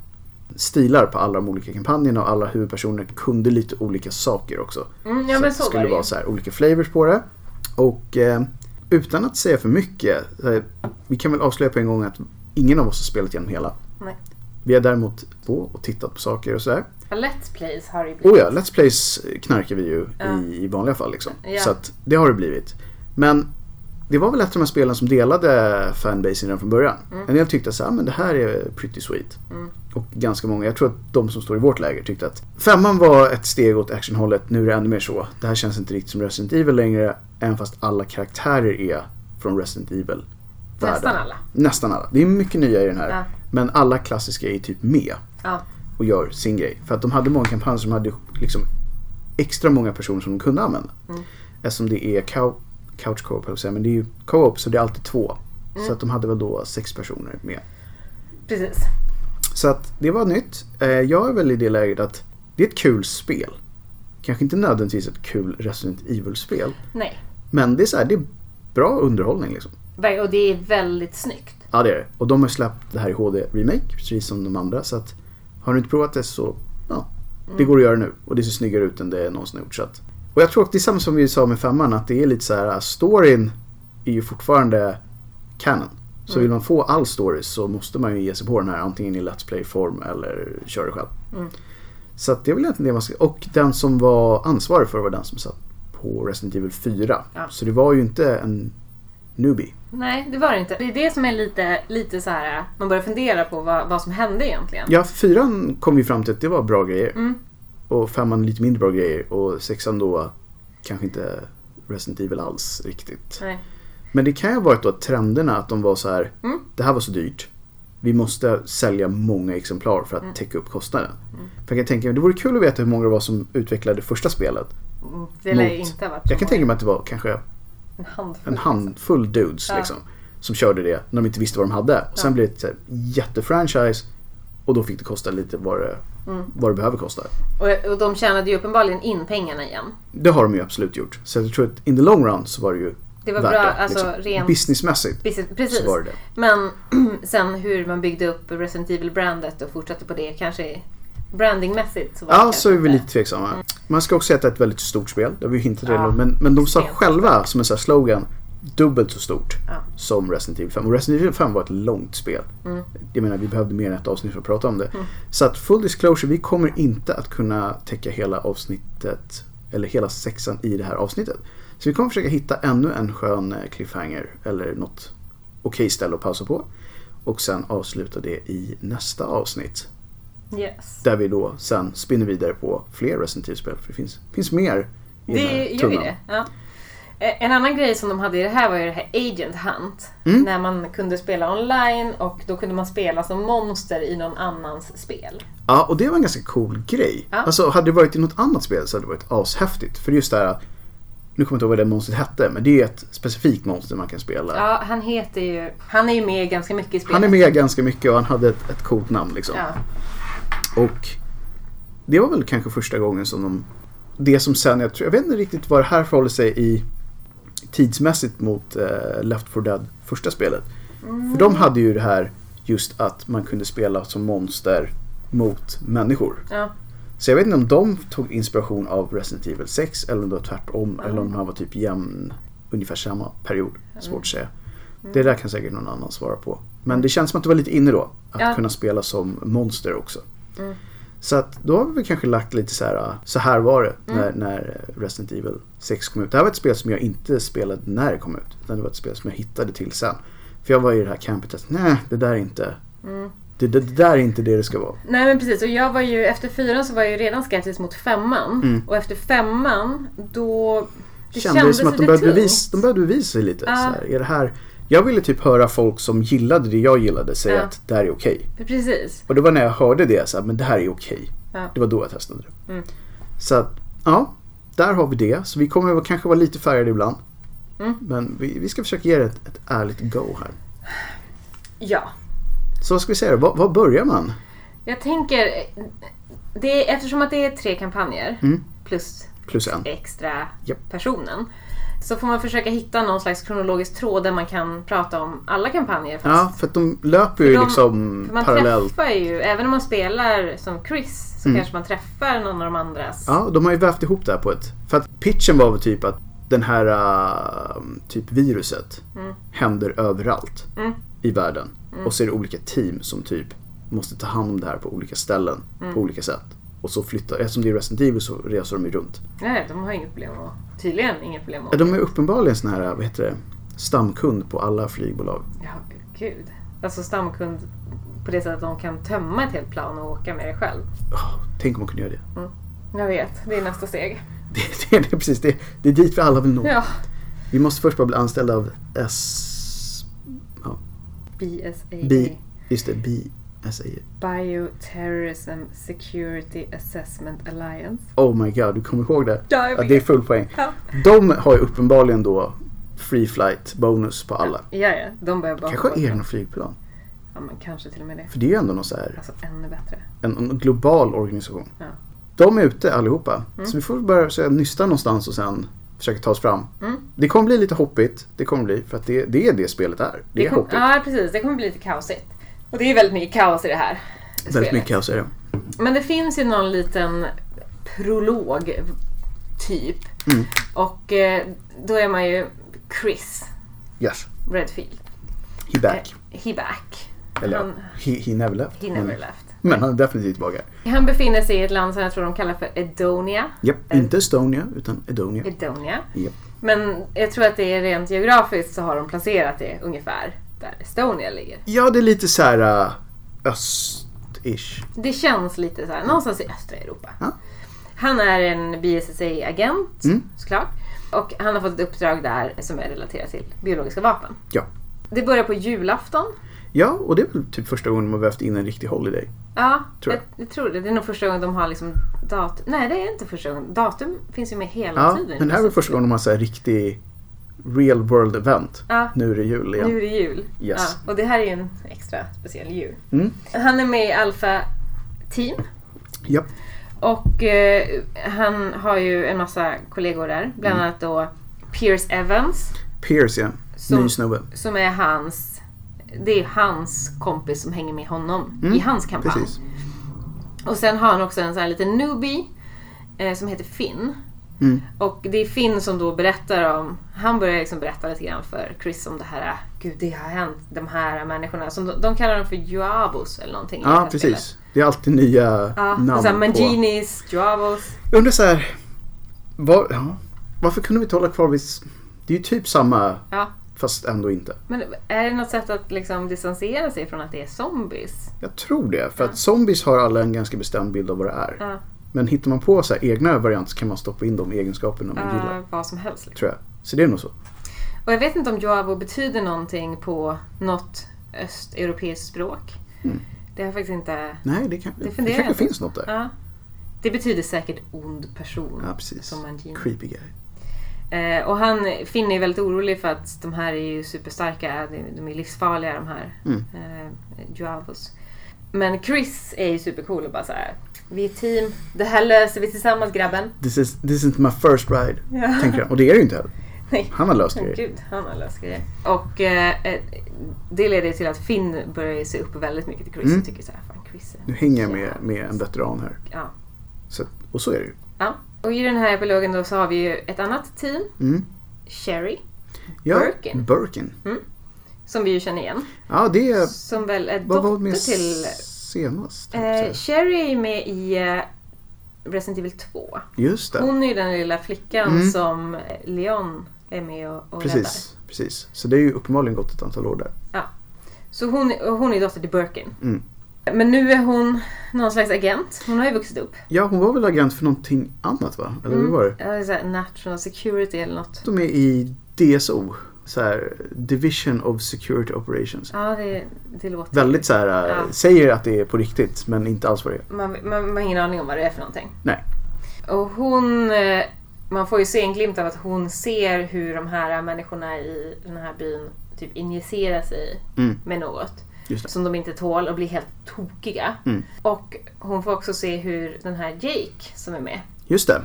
Speaker 1: stilar på alla de olika kampanjerna och alla huvudpersoner kunde lite olika saker också.
Speaker 2: Mm, ja men
Speaker 1: att det
Speaker 2: så var
Speaker 1: skulle
Speaker 2: det ju.
Speaker 1: vara så här, olika flavors på det. Och eh, utan att säga för mycket, så här, vi kan väl avslöja på en gång att ingen av oss har spelat igenom hela.
Speaker 2: Nej.
Speaker 1: Vi har däremot på och tittat på saker och sådär.
Speaker 2: Ja, Let's Plays har det ju blivit.
Speaker 1: Oh ja, Let's Plays knarkar vi ju
Speaker 2: Ja.
Speaker 1: i, i vanliga fall liksom.
Speaker 2: Ja.
Speaker 1: Så att det har det blivit. Men det var väl ett av de här spelen som delade fanbasen redan från början. En del tyckte så här, "Ah, men det här är pretty sweet.
Speaker 2: Mm.
Speaker 1: Och ganska många, jag tror att de som står i vårt läger tyckte att femman var ett steg åt actionhållet, nu är det ännu mer så. Det här känns inte riktigt som Resident Evil längre, även fast alla karaktärer är från Resident Evil.
Speaker 2: Nästan alla.
Speaker 1: Nästan alla. Det är mycket nya i den här.
Speaker 2: Ja.
Speaker 1: Men alla klassiska är typ med
Speaker 2: Ja.
Speaker 1: och gör sin grej. För att de hade många kampanjer som hade liksom extra många personer som de kunde använda.
Speaker 2: Mm.
Speaker 1: Eftersom det är cou- couch co-op, höll jag på att säga, men det är ju co-op så det är alltid två.
Speaker 2: Mm.
Speaker 1: Så att de hade väl då sex personer med.
Speaker 2: Precis.
Speaker 1: Så att det var nytt. Eh, Jag är väl i det läget att det är ett kul spel. Kanske inte nödvändigtvis ett kul Resident Evil-spel.
Speaker 2: Nej.
Speaker 1: Men det är så här, det är bra underhållning liksom.
Speaker 2: Ver- Och det är väldigt snyggt.
Speaker 1: Ja det är det. Och de har släppt det här i HD-remake, precis som de andra. Så att har du inte provat det så, ja. Det
Speaker 2: Mm.
Speaker 1: går att göra nu och det ser snyggare ut än det någonsin har gjort. Så att. Och jag tror att det är samma som vi sa med femman, att det är lite så här, äh, storyn är ju fortfarande canon. Så
Speaker 2: Mm.
Speaker 1: vill man få all story så måste man ju ge sig på den här antingen i Let's Play-form eller köra det själv.
Speaker 2: Mm.
Speaker 1: Så att det är väl egentligen det man ska... Och den som var ansvarig för det var den som satt på Resident Evil 4.
Speaker 2: Ja.
Speaker 1: Så det var ju inte en newbie.
Speaker 2: Nej, det var det inte. Det är det som är lite, lite så här. man börjar fundera på vad, vad som hände egentligen.
Speaker 1: Ja, fyran kom vi fram till att det var bra grejer.
Speaker 2: Mm.
Speaker 1: Och femman lite mindre bra grejer. Och sexan då kanske inte Resident Evil alls riktigt.
Speaker 2: Nej.
Speaker 1: Men det kan ju ha varit då att trenderna att de var så här.
Speaker 2: Mm.
Speaker 1: Det här var så dyrt. Vi måste sälja många exemplar för att
Speaker 2: Mm.
Speaker 1: täcka upp kostnaden. För jag kan tänka mig, det vore kul att veta hur många det var som utvecklade första spelet.
Speaker 2: Mm, Det lär ju
Speaker 1: Mot-
Speaker 2: inte ha varit så
Speaker 1: Jag kan
Speaker 2: många.
Speaker 1: tänka mig att det var kanske
Speaker 2: En handfull.
Speaker 1: en handfull dudes
Speaker 2: Ja.
Speaker 1: liksom. Som körde det när de inte visste vad de hade. Och sen
Speaker 2: Ja.
Speaker 1: blev det ett så här jättefranchise. Och då fick det kosta lite vad det,
Speaker 2: Mm.
Speaker 1: vad det behöver kosta.
Speaker 2: Och, och de tjänade ju uppenbarligen in pengarna igen.
Speaker 1: Det har de ju absolut gjort. Så jag tror att in the long run så var det ju
Speaker 2: Det var
Speaker 1: värt
Speaker 2: bra,
Speaker 1: det. liksom.
Speaker 2: alltså rent
Speaker 1: Businessmässigt
Speaker 2: Precis. precis.
Speaker 1: så var det det.
Speaker 2: Men sen hur man byggde upp Resident Evil-brandet och fortsatte på det kanske brandingmässigt så var det
Speaker 1: Ja,
Speaker 2: kanske
Speaker 1: så är vi
Speaker 2: inte-
Speaker 1: lite tveksamma. Man ska också säga att det är ett väldigt stort spel. Det har vi ju hintat redan
Speaker 2: Ja.
Speaker 1: om. Men, men de sa
Speaker 2: Sent.
Speaker 1: själva som en sån här slogan dubbelt så stort
Speaker 2: Ja.
Speaker 1: som Resident Evil 5. Och Resident Evil 5 var ett långt spel.
Speaker 2: Mm.
Speaker 1: Jag menar, vi behövde mer än ett avsnitt för att prata om det. Så att full disclosure, vi kommer inte att kunna täcka hela avsnittet eller hela sexan i det här avsnittet. Så vi kommer försöka hitta ännu en skön eh, cliffhanger eller något okej ställe att pausa på. Och sen avsluta det i nästa avsnitt.
Speaker 2: Yes.
Speaker 1: Där vi då sen spinner vidare på fler Resident Evil-spel. För det finns, finns mer i den här
Speaker 2: Det gör ju
Speaker 1: tunnan.
Speaker 2: det. Ja. Eh, En annan grej som de hade i det här var ju det här Agent Hunt.
Speaker 1: Mm.
Speaker 2: När man kunde spela online och då kunde man spela som monster i någon annans spel.
Speaker 1: Ja, och det var en ganska cool grej.
Speaker 2: Ja.
Speaker 1: Alltså, hade det varit i något annat spel så hade det varit ashäftigt. För det är just det här, nu kommer jag inte ihåg vad det monstret hette, men det är ett specifikt monster man kan spela.
Speaker 2: Ja, han heter ju... Han är ju med ganska mycket i spelet.
Speaker 1: Han är med ganska mycket och han hade ett, ett coolt namn liksom.
Speaker 2: Ja.
Speaker 1: Och det var väl kanske första gången som de... Det som sen, jag, tror, jag vet inte riktigt vad det här förhåller sig i tidsmässigt mot eh, Left 4 Dead, första spelet. För de hade ju det här just att man kunde spela som monster mot människor.
Speaker 2: Ja.
Speaker 1: Så jag vet inte om de tog inspiration av Resident Evil 6 eller om det var tvärtom eller om han var typ jämn, ungefär samma period. Svårt att säga. Det där kan säkert någon annan svara på. Men det känns som att det var lite inne då. Att
Speaker 2: Ja.
Speaker 1: kunna spela som monster också. Så att då har vi kanske lagt lite så här, äh, så här var det när, när Resident Evil 6 kom ut. Det här var ett spel som jag inte spelade när det kom ut. Utan det var ett spel som jag hittade till sen. För jag var i det här campet att nej, det där är inte, det, det, det där är inte det det ska vara.
Speaker 2: Mm. Nej men precis, och jag var ju, efter fyran så var jag ju redan skeptisk mot femman. Och efter femman då...
Speaker 1: Mm. det kändes som att de
Speaker 2: lite
Speaker 1: började,
Speaker 2: tungt.
Speaker 1: bevisa, de började bevisa sig lite.
Speaker 2: Ja.
Speaker 1: Så här, är det här, jag ville typ höra folk som gillade det jag gillade säga
Speaker 2: Ja.
Speaker 1: att det här är okej.
Speaker 2: Precis.
Speaker 1: Och det var när jag hörde det, så här, men det här är okej.
Speaker 2: Ja. Mm.
Speaker 1: Det var då jag testade det. Så att, ja, där har vi det. Så vi kommer att kanske vara lite färgade ibland.
Speaker 2: Mm.
Speaker 1: Men vi, vi ska försöka ge det ett, ett ärligt go här.
Speaker 2: Ja.
Speaker 1: Så vad ska vi säga då? Var, var börjar man?
Speaker 2: Jag tänker, det, är- eftersom att det är tre kampanjer
Speaker 1: Mm.
Speaker 2: plus
Speaker 1: Plus en.
Speaker 2: extra
Speaker 1: Japp.
Speaker 2: personen. Så får man försöka hitta någon slags kronologisk tråd där man kan prata om alla kampanjer. Fast
Speaker 1: Ja, för att de löper ju
Speaker 2: de-
Speaker 1: liksom
Speaker 2: för man
Speaker 1: parallellt. Mm.
Speaker 2: träffar ju, även om man spelar som Chris, så kanske man träffar någon av de andras.
Speaker 1: Ja, de har ju vävt ihop det här på ett... För att pitchen var väl typ att den här äh, typ viruset händer överallt i världen. Och så är det olika team som typ måste ta hand om det här på olika ställen på olika sätt. Och så flyttar, eftersom det är Resident Evil så reser de ju runt.
Speaker 2: Nej, de har inget problem att, tydligen inget problem
Speaker 1: Ja,
Speaker 2: att...
Speaker 1: De är uppenbarligen sån här, äh, vad heter det, stamkund på alla flygbolag.
Speaker 2: Ja, gud. Alltså stamkund på det sättet att de kan tömma ett helt plan och åka med det själv.
Speaker 1: Åh, tänk om man kunde göra det.
Speaker 2: Jag vet, det är nästa steg.
Speaker 1: Det, det, det, är precis, det, det är dit vi alla vill nå.
Speaker 2: Ja.
Speaker 1: Vi måste först bara bli anställda av S... Ja,
Speaker 2: BSAA.
Speaker 1: B... Just det, BSA.
Speaker 2: Bioterrorism Security Assessment Alliance.
Speaker 1: Oh my god, du kommer ihåg det?
Speaker 2: Ja, jag
Speaker 1: Ja,
Speaker 2: vet.
Speaker 1: det är full poäng.
Speaker 2: Ja.
Speaker 1: De har ju uppenbarligen då free flight bonus på alla.
Speaker 2: Ja, ja. De behöver bara...
Speaker 1: Kanske egna flygplan.
Speaker 2: Ja, men kanske till och med det.
Speaker 1: För det är ju ändå någon så här,
Speaker 2: Alltså ännu bättre.
Speaker 1: en, en global organisation.
Speaker 2: Ja. Mm.
Speaker 1: De är ute allihopa. Så vi får börja så här, nysta någonstans och sen försöka ta oss fram.
Speaker 2: Mm.
Speaker 1: Det kommer bli lite hoppigt. Det kommer bli. För att det, det är det spelet är. Det, är
Speaker 2: kom-
Speaker 1: hoppigt.
Speaker 2: Ja, precis. Det kommer bli lite kaosigt. Och det är väldigt mycket kaos i det här
Speaker 1: Väldigt
Speaker 2: spelet.
Speaker 1: mycket kaos är det.
Speaker 2: Men det finns ju någon liten prolog, typ.
Speaker 1: Mm.
Speaker 2: Och eh, då är man ju Chris
Speaker 1: Yes.
Speaker 2: Redfield.
Speaker 1: He back.
Speaker 2: Eh, He back.
Speaker 1: Eller
Speaker 2: han-
Speaker 1: he, he never left.
Speaker 2: He never
Speaker 1: men,
Speaker 2: left.
Speaker 1: men han är definitivt tillbaka.
Speaker 2: Han befinner sig i ett land som jag tror de kallar för Edonia.
Speaker 1: Japp,
Speaker 2: Eh.
Speaker 1: Inte Estonia utan Edonia.
Speaker 2: Edonia.
Speaker 1: Japp.
Speaker 2: Men jag tror att det är rent geografiskt så har de placerat det ungefär där Estonia ligger.
Speaker 1: Ja, det är lite så här äh, öst-ish.
Speaker 2: Det känns lite så här, någonstans i östra Europa.
Speaker 1: Ja.
Speaker 2: Han är en BSSA-agent
Speaker 1: Mm.
Speaker 2: såklart. Och han har fått ett uppdrag där som är relaterat till biologiska vapen.
Speaker 1: Ja.
Speaker 2: Det börjar på julafton.
Speaker 1: Ja, och det är väl typ första gången de har vävt in en riktig holiday.
Speaker 2: Ja,
Speaker 1: Tror
Speaker 2: jag.
Speaker 1: jag.
Speaker 2: Jag, tror det. Det är nog första gången de har liksom datum. Nej, det är inte första gången. Datum finns ju med hela
Speaker 1: Ja,
Speaker 2: tiden. Alltså,
Speaker 1: men det här är väl första gången de har så här riktig real world event.
Speaker 2: Ja.
Speaker 1: Nu är det jul igen.
Speaker 2: Nu är det jul.
Speaker 1: Yes.
Speaker 2: Ja, och det här är ju en extra speciell jul.
Speaker 1: Mm.
Speaker 2: Han är med i Alpha Team
Speaker 1: Japp.
Speaker 2: och eh, han har ju en massa kollegor där. Bland
Speaker 1: Mm.
Speaker 2: annat då Pierce Evans
Speaker 1: Pierce ja.
Speaker 2: Så-
Speaker 1: Ny snubbe.
Speaker 2: som är hans det är hans kompis som hänger med honom
Speaker 1: Mm,
Speaker 2: i hans kampanj.
Speaker 1: Precis.
Speaker 2: Och sen har han också en sån här liten newbie eh, som heter Finn.
Speaker 1: Mm.
Speaker 2: Och det är Finn som då berättar om, han börjar liksom berätta lite grann för Chris om det här, ah, gud det har hänt, de här människorna, som de, de kallar dem för Juavos eller någonting. i det
Speaker 1: Ja,
Speaker 2: här spelet.
Speaker 1: precis. Det är alltid nya
Speaker 2: Ja, och så här,
Speaker 1: namn på...
Speaker 2: Manginis, Juavos.
Speaker 1: Jag undrar så här. Var, ja, varför kunde vi inte hålla kvar vid... s- Det är ju typ samma
Speaker 2: Ja.
Speaker 1: fast ändå inte.
Speaker 2: Men är det något sätt att liksom distansera sig från att det är zombies?
Speaker 1: Jag tror det. För att zombies har alla en ganska bestämd bild av vad det är.
Speaker 2: Ja,
Speaker 1: Men hittar man på så här egna varianter så kan man stoppa in de egenskaperna man gillar.
Speaker 2: äh, vad som helst. Liksom.
Speaker 1: Tror jag. Så det är nog så.
Speaker 2: Och jag vet inte om Juavo betyder någonting på något östeuropeiskt språk.
Speaker 1: Mm.
Speaker 2: Det har jag faktiskt inte...
Speaker 1: Nej, det, kan, det,
Speaker 2: Det
Speaker 1: det
Speaker 2: funderar
Speaker 1: kanske
Speaker 2: jag på.
Speaker 1: finns något där.
Speaker 2: Ja. Det betyder säkert ond person.
Speaker 1: Ja, precis.
Speaker 2: Som Mangini.
Speaker 1: Creepy guy.
Speaker 2: Eh, och han, Finn är väldigt orolig för att de här är ju superstarka, de- de är livsfarliga de här
Speaker 1: Mm.
Speaker 2: eh, Juavos. Men Chris är ju supercool och bara så här. Vi är ett team, det här löser vi tillsammans grabben.
Speaker 1: This, is, this isn't my first ride.
Speaker 2: Ja.
Speaker 1: Tänker han. Och det är det ju inte heller.
Speaker 2: Nej.
Speaker 1: Han har löst
Speaker 2: Åh,
Speaker 1: grejer.
Speaker 2: Gud, han har löst grejer. Och eh, eh, det leder till att Finn börjar se upp väldigt mycket till Chris
Speaker 1: Mm.
Speaker 2: och tycker så här, fan Chris är...
Speaker 1: Nu hänger jag med, med en veteran här.
Speaker 2: Ja.
Speaker 1: Så, att- och så är det ju.
Speaker 2: ja. Och i den här epilogen då så har vi ju ett annat team,
Speaker 1: Mm.
Speaker 2: Sherry,
Speaker 1: Ja,
Speaker 2: Birkin.
Speaker 1: Birkin.
Speaker 2: som vi ju känner igen.
Speaker 1: Ja, det är...
Speaker 2: Som väl är
Speaker 1: Vad var
Speaker 2: dotter
Speaker 1: med
Speaker 2: till...
Speaker 1: senast? tänkte jag säga.
Speaker 2: Eh, Sherry är ju med i eh, Resident Evil 2.
Speaker 1: Just det.
Speaker 2: Hon är ju den lilla flickan
Speaker 1: Mm.
Speaker 2: som eh, Leon är med och, och räddar.
Speaker 1: Precis, precis. Så det är ju uppenbarligen gått ett antal år där.
Speaker 2: Så hon, och hon är dotter till Birkin.
Speaker 1: Mm.
Speaker 2: Men nu är hon någon slags agent. Hon har ju vuxit upp.
Speaker 1: Ja, hon var väl agent för någonting annat va? Eller
Speaker 2: Mm.
Speaker 1: hur var det?
Speaker 2: Ja, det är så här National Security eller något.
Speaker 1: De är i DSO, så här, Division of Security Operations.
Speaker 2: Ja, det, det låter...
Speaker 1: Väldigt så här, eh,
Speaker 2: Ja.
Speaker 1: säger att det är på riktigt men inte alls vad det är.
Speaker 2: Man, man, man har ingen aning om vad det är för någonting.
Speaker 1: Nej.
Speaker 2: Och hon... eh, Man får ju se en glimt av att hon ser hur de här människorna i den här byn typ injicerar sig
Speaker 1: Mm.
Speaker 2: med något.
Speaker 1: Just det.
Speaker 2: Som de inte tål och blir helt tokiga.
Speaker 1: Mm.
Speaker 2: Och hon får också se hur den här Jake som är med,
Speaker 1: Just det,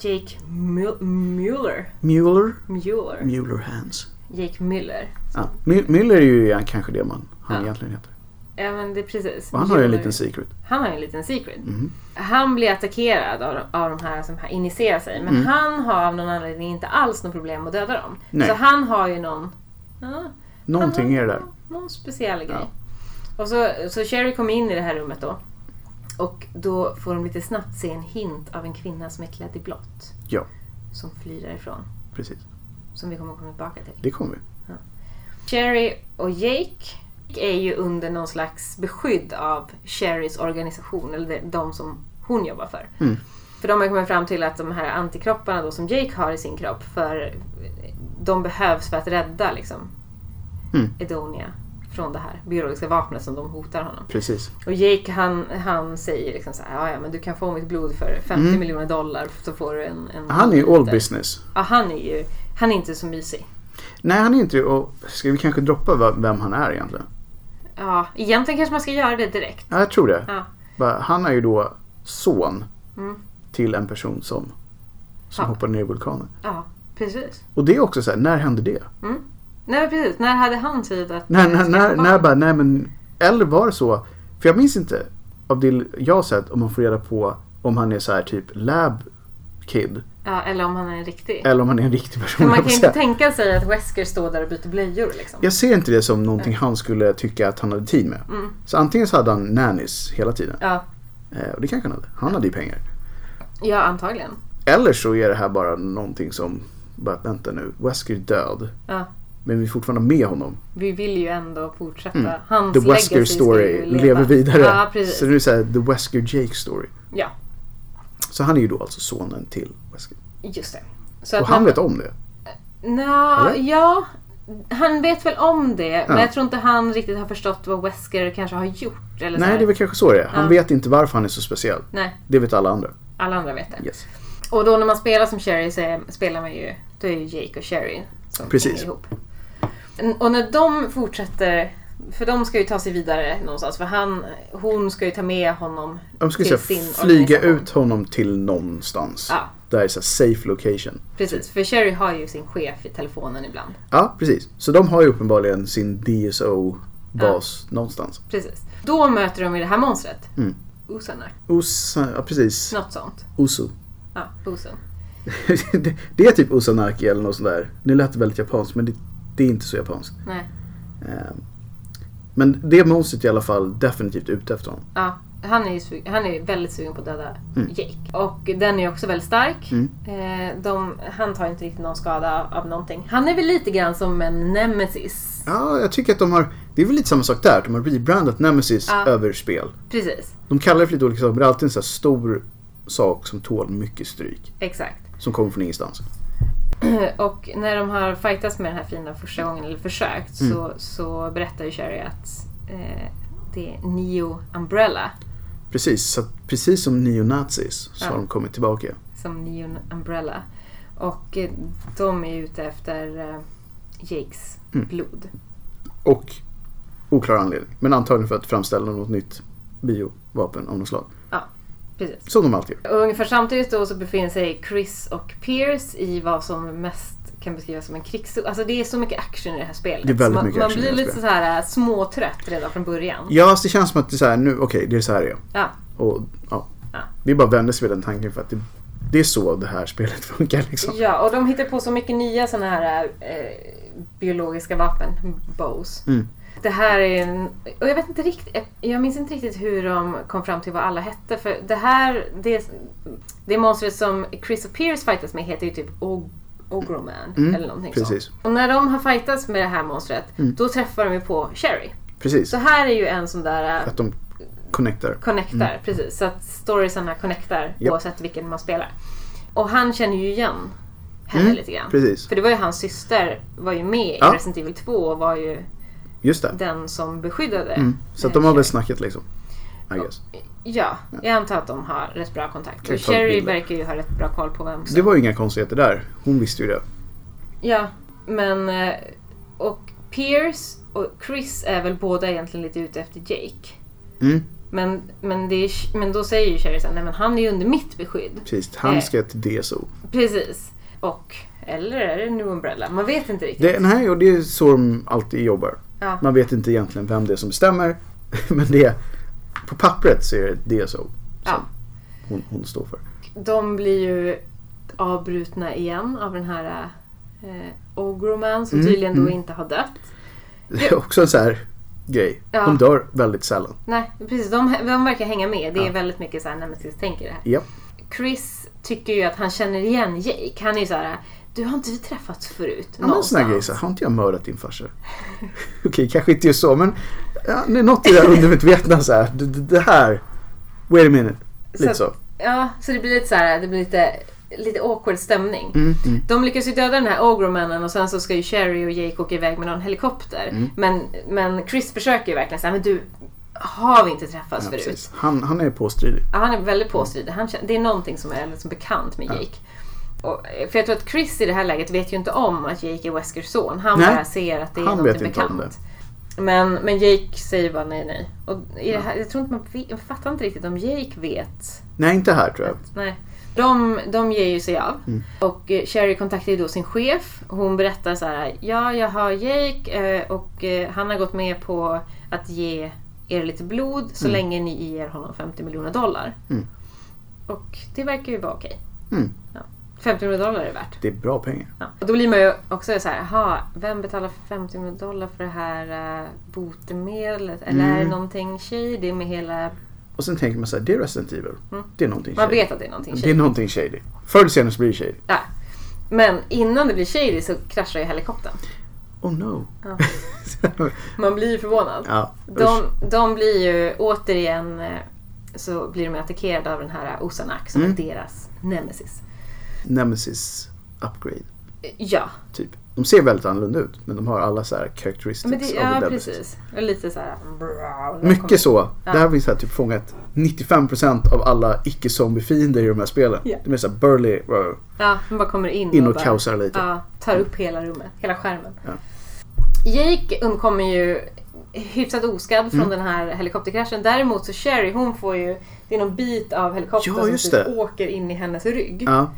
Speaker 2: Jake Mu- Mueller,
Speaker 1: Mueller,
Speaker 2: Mueller,
Speaker 1: Mueller Hands.
Speaker 2: Jake Müller.
Speaker 1: Ja. Mu- Mueller är ju egent- kanske det man, han
Speaker 2: Ja.
Speaker 1: egentligen heter.
Speaker 2: Ja men det är precis.
Speaker 1: Och han har ju en
Speaker 2: Mueller.
Speaker 1: liten secret.
Speaker 2: Han har ju en liten secret.
Speaker 1: Mhm.
Speaker 2: Han blir attackerad av, de- av de här som här initierar sig.
Speaker 1: Mhm.
Speaker 2: Men han har av någon anledning inte alls något problem att döda dem.
Speaker 1: Nej.
Speaker 2: Så han har ju någon... Ja,
Speaker 1: Någonting är det där.
Speaker 2: Någon speciell grej. Och så, så Sherry kommer in i det här rummet då. Och då får de lite snabbt se en hint av en kvinna som är klädd i blått.
Speaker 1: Ja.
Speaker 2: Som flyr därifrån.
Speaker 1: Precis,
Speaker 2: Som vi kommer komma tillbaka till.
Speaker 1: det kommer vi.
Speaker 2: Sherry och Jake är ju under någon slags beskydd av Sherrys organisation, eller de- de som hon jobbar för.
Speaker 1: Mm.
Speaker 2: För de har kommit fram till att de här antikropparna då som Jake har i sin kropp, för de behövs för att rädda liksom,
Speaker 1: Mm.
Speaker 2: Edonia från det här biologiska vapnet som de hotar honom.
Speaker 1: Precis.
Speaker 2: Och Jake han, han säger liksom så här, "Ja, ja men du kan få mitt blod för 50
Speaker 1: Mm.
Speaker 2: miljoner dollar så får du en... en
Speaker 1: Han är ju all
Speaker 2: liter."
Speaker 1: business.
Speaker 2: Ja, han är ju han är inte så mysig.
Speaker 1: Nej, han är inte det. Och ska vi kanske droppa v- vem han är egentligen?
Speaker 2: Ja, egentligen kanske man ska göra det direkt.
Speaker 1: Ja, jag tror det.
Speaker 2: Ja.
Speaker 1: Bara, Han är ju då son
Speaker 2: Mm.
Speaker 1: till en person som, som
Speaker 2: Ja.
Speaker 1: hoppade ner i vulkanen.
Speaker 2: Ja, precis.
Speaker 1: Och det är också så här, när hände det?
Speaker 2: Nej men precis, när hade han tid att...
Speaker 1: När, när,
Speaker 2: skaffa
Speaker 1: när,
Speaker 2: barn?
Speaker 1: när bara, nej men, eller var det så? För jag minns inte av det jag har sett om man får reda på om han är så här typ lab kid.
Speaker 2: Ja, eller om han är en riktig.
Speaker 1: Eller om han är en riktig person.
Speaker 2: För man
Speaker 1: jag
Speaker 2: kan ju
Speaker 1: vill
Speaker 2: inte
Speaker 1: säga.
Speaker 2: tänka sig att Wesker står där och byter blöjor liksom.
Speaker 1: Jag ser inte det som någonting han skulle tycka att han hade tid med.
Speaker 2: Mm.
Speaker 1: Så antingen så hade han nannies hela tiden.
Speaker 2: Ja,
Speaker 1: Eh, Och det kanske han hade. Han hade ju pengar.
Speaker 2: ja antagligen.
Speaker 1: Eller så är det här bara någonting som, bara vänta nu, Wesker är död.
Speaker 2: Ja.
Speaker 1: Men vi är fortfarande med honom.
Speaker 2: Vi vill ju ändå fortsätta.
Speaker 1: Mm.
Speaker 2: Hans
Speaker 1: The Wesker
Speaker 2: legacy ska
Speaker 1: story
Speaker 2: ju leva.
Speaker 1: lever vidare.
Speaker 2: Ja, precis.
Speaker 1: så nu är det så här, The Wesker Jake story.
Speaker 2: Ja,
Speaker 1: Så han är ju då alltså sonen till Wesker.
Speaker 2: just det. Så
Speaker 1: Och han vet om det.
Speaker 2: Nå,
Speaker 1: Eller?
Speaker 2: ja. Han vet väl om det, men
Speaker 1: Ja.
Speaker 2: jag tror inte han riktigt har förstått vad Wesker kanske har gjort. Eller så
Speaker 1: Nej,
Speaker 2: här.
Speaker 1: det är väl kanske så det är. Han
Speaker 2: Ja.
Speaker 1: vet inte varför han är så speciell.
Speaker 2: Nej,
Speaker 1: Det vet alla andra.
Speaker 2: alla andra vet det.
Speaker 1: Yes.
Speaker 2: Och då när man spelar som Sherry så är, spelar man ju, då är ju Jake och Sherry som
Speaker 1: Precis.
Speaker 2: hänger ihop. N- Och när de fortsätter, för de ska ju ta sig vidare någonstans för han, hon ska ju ta med honom
Speaker 1: De skulle
Speaker 2: till
Speaker 1: säga,
Speaker 2: sin
Speaker 1: flyga
Speaker 2: organisation.
Speaker 1: ut honom till någonstans.
Speaker 2: Ja,
Speaker 1: Där är så här safe location.
Speaker 2: precis. För Sherry har ju sin chef i telefonen ibland.
Speaker 1: Ja, precis. Så de har ju uppenbarligen sin DSO-bas någonstans.
Speaker 2: Precis. Då möter de ju det här monstret.
Speaker 1: Mm.
Speaker 2: Osanak,
Speaker 1: Osa, ja, precis.
Speaker 2: något sånt.
Speaker 1: Osu.
Speaker 2: Ja, Osan.
Speaker 1: Det- det är typ Osanaki eller något sånt där. Nu lät det väldigt japanskt men det, det är inte så japanskt.
Speaker 2: Nej.
Speaker 1: Eh, Men det monstret är i alla fall definitivt ute efter honom.
Speaker 2: Ja, han är, ju sug- han är ju väldigt sugen på att döda Jake. Och den är ju också väldigt stark.
Speaker 1: Mm.
Speaker 2: Eh, de, han tar inte riktigt någon skada av någonting. Han är väl lite grann som en nemesis.
Speaker 1: Ja, jag tycker att de har... Det är väl lite samma sak där. De har rebrandat Nemesis
Speaker 2: Ja.
Speaker 1: över spel.
Speaker 2: Precis,
Speaker 1: De kallar det för lite olika saker men det är alltid en sån här stor sak som tål mycket stryk.
Speaker 2: exakt.
Speaker 1: Som kommer från ingenstans.
Speaker 2: Och när de har fightats med den här fienden första gången, eller försökt, så, så berättar ju Sherry att eh, det är Neo Umbrella.
Speaker 1: Precis, så att precis som neonazis så
Speaker 2: Ja.
Speaker 1: har de kommit tillbaka.
Speaker 2: Som Neo Umbrella. Och eh, de är ute efter eh, Jakes blod.
Speaker 1: Och oklar anledning. Men antagligen för att framställa något nytt biovapen av något slag.
Speaker 2: Ja, precis.
Speaker 1: Som de alltid gör.
Speaker 2: Och ungefär samtidigt då så befinner sig Chris och Pierce i vad som mest kan beskrivas som en krigszon. Alltså det är så mycket action i det här spelet.
Speaker 1: Det är väldigt
Speaker 2: man,
Speaker 1: mycket
Speaker 2: man
Speaker 1: action i
Speaker 2: blir
Speaker 1: det här
Speaker 2: lite så här äh, småtrött redan från början.
Speaker 1: Ja, alltså det känns som att det är så här nu, okej, det är så här det är.
Speaker 2: Ja,
Speaker 1: Och ja.
Speaker 2: Ja.
Speaker 1: Vi bara vände sig vid den tanken för att det, det är så det här spelet funkar liksom.
Speaker 2: ja och de hittar på så mycket nya sådana här eh, biologiska vapen, bows.
Speaker 1: Mm.
Speaker 2: Det här är en, och jag vet inte riktigt, jag minns inte riktigt hur de kom fram till vad alla hette för det här, det, det monstret som Chris och Pierce fightas med heter ju typ Og- Ogroman
Speaker 1: Mm,
Speaker 2: eller någonting sånt.
Speaker 1: Precis,
Speaker 2: Och när de har fightats med det här monstret,
Speaker 1: Mm.
Speaker 2: då träffar de ju på Sherry.
Speaker 1: precis.
Speaker 2: Så här är ju en sån där äh,
Speaker 1: Att de connectar.
Speaker 2: connectar, precis. Så att storiesarna connectar
Speaker 1: Mm. Japp.
Speaker 2: oavsett vilken man spelar. Och han känner ju igen henne
Speaker 1: Mm,
Speaker 2: lite grann.
Speaker 1: Precis,
Speaker 2: För det var ju hans syster, var ju med
Speaker 1: Ja.
Speaker 2: i Resident Evil 2 och var ju
Speaker 1: just det.
Speaker 2: den som beskyddade.
Speaker 1: Mm. Så att
Speaker 2: eh,
Speaker 1: de har väl
Speaker 2: Sherry.
Speaker 1: snackat liksom. I guess.
Speaker 2: Ja, jag antar att de har rätt bra
Speaker 1: Kan
Speaker 2: kontakt. Och
Speaker 1: jag ta
Speaker 2: Sherry
Speaker 1: bilder?
Speaker 2: verkar ju ha rätt bra koll på vem som...
Speaker 1: Det var ju inga konstigheter där. Hon visste ju det.
Speaker 2: Ja, men... eh, Och Pierce och Chris är väl båda egentligen lite ute efter Jake.
Speaker 1: Mm.
Speaker 2: Men, men, det är, men då säger ju Sherry sen, nej men han är ju under mitt beskydd.
Speaker 1: Precis,
Speaker 2: Eh.
Speaker 1: han ska till DSO.
Speaker 2: Precis. Och, eller är det nu Umbrella? Man vet inte riktigt.
Speaker 1: Det, nej, och det är så de alltid jobbar.
Speaker 2: Ja.
Speaker 1: Man vet inte egentligen vem det är som bestämmer. Men det, på pappret så är det DSO
Speaker 2: ja.
Speaker 1: hon, hon står för.
Speaker 2: De blir ju avbrutna igen av den här eh, Ogroman som
Speaker 1: Mm,
Speaker 2: tydligen då
Speaker 1: mm.
Speaker 2: inte har dött.
Speaker 1: Det är också en så här grej.
Speaker 2: Ja.
Speaker 1: De dör väldigt sällan.
Speaker 2: Nej, precis. De, de verkar hänga med. Det är
Speaker 1: Ja.
Speaker 2: väldigt mycket såhär nemesis-tänk i det här.
Speaker 1: Japp.
Speaker 2: Chris tycker ju att han känner igen Jake. Han är ju såhär, du har inte vi träffats förut?
Speaker 1: Ja, men en sån här grej,
Speaker 2: någonstans?"
Speaker 1: så här, har inte jag mördat din farsa? Okej, kanske inte just så, men ja, det är något i det här undermedvetna så här. Det, det det här, wait a minute. Lite
Speaker 2: Så
Speaker 1: så.
Speaker 2: Ja, så det blir lite så här, det blir lite, lite awkward stämning.
Speaker 1: Mm, mm.
Speaker 2: De lyckas ju döda den här Ogromannen och sen så ska ju Sherry och Jake åka iväg med någon helikopter.
Speaker 1: Mm.
Speaker 2: Men, men Chris försöker ju verkligen säga men du, har vi inte träffats
Speaker 1: Ja,
Speaker 2: förut?
Speaker 1: precis. Mm. Han, han är påstridig.
Speaker 2: Ja, han är väldigt påstridig. Han känner, det är någonting som är liksom bekant med Jake. Och, eh, för jag tror att Chris i det här läget vet ju inte om att Jake är Weskers son. Han
Speaker 1: Nej.
Speaker 2: bara ser att det är
Speaker 1: Han vet
Speaker 2: någonting
Speaker 1: inte om
Speaker 2: bekant. Men, men Jake säger bara nej, nej. Och i det här, jag tror inte man vet, jag fattar inte riktigt om Jake vet
Speaker 1: Nej, inte här tror jag.
Speaker 2: Nej. De, de ger ju sig av.
Speaker 1: Mm.
Speaker 2: Och eh, Sherry kontaktar ju då sin chef. Hon berättar så här. Ja, jag har Jake eh, och eh, han har gått med på att ge er lite blod så länge ni ger honom 50 miljoner dollar.
Speaker 1: Mm.
Speaker 2: Och det verkar ju vara okej.
Speaker 1: Mm.
Speaker 2: Ja. 50 miljoner dollar är värt.
Speaker 1: Det är bra pengar.
Speaker 2: Ja. Och då blir man ju också så här. Jaha, vem betalar 50 miljoner dollar för det här eh, botemedlet? Eller är det
Speaker 1: Mm.
Speaker 2: någonting shady med hela...
Speaker 1: Och sen tänker man så här, det är Resident Evil. Det är någonting
Speaker 2: Mm. Man
Speaker 1: shady.
Speaker 2: vet att det är någonting shady.
Speaker 1: Det är någonting shady. Förr eller senare så blir det shady.
Speaker 2: Ja. Men innan det blir shady så kraschar ju helikoptern.
Speaker 1: Oh no.
Speaker 2: Ja.
Speaker 1: Ja.
Speaker 2: Man blir ju förvånad.
Speaker 1: usch.
Speaker 2: De, de blir ju återigen eh, så blir de attackerade av den här Osanak som
Speaker 1: Mm.
Speaker 2: är deras nemesis.
Speaker 1: Nemesis upgrade.
Speaker 2: Ja,
Speaker 1: Typ. De ser väldigt annorlunda ut men de har alla så här characteristics
Speaker 2: men det,
Speaker 1: of the
Speaker 2: ja
Speaker 1: dead.
Speaker 2: precis. Och lite så här. bra, och de kommer-
Speaker 1: liksom. Mycket så.
Speaker 2: Ja.
Speaker 1: Där har vi så här typ fångat 95% av alla icke-zombie-fiender i de här spelen.
Speaker 2: Ja.
Speaker 1: De är så här burly, rå,
Speaker 2: Ja, man bara kommer in,
Speaker 1: in och
Speaker 2: bara,
Speaker 1: kaosar lite.
Speaker 2: Ja, tar upp hela rummet, hela skärmen.
Speaker 1: typ. Ja.
Speaker 2: Jake undkommer ju hyfsat oskadd
Speaker 1: Mm.
Speaker 2: från den här helikopterkraschen. Däremot så Sherry hon får ju, det är någon bit av helikoptern
Speaker 1: Ja,
Speaker 2: som
Speaker 1: just
Speaker 2: typ
Speaker 1: det.
Speaker 2: åker in i hennes rygg.
Speaker 1: Ja.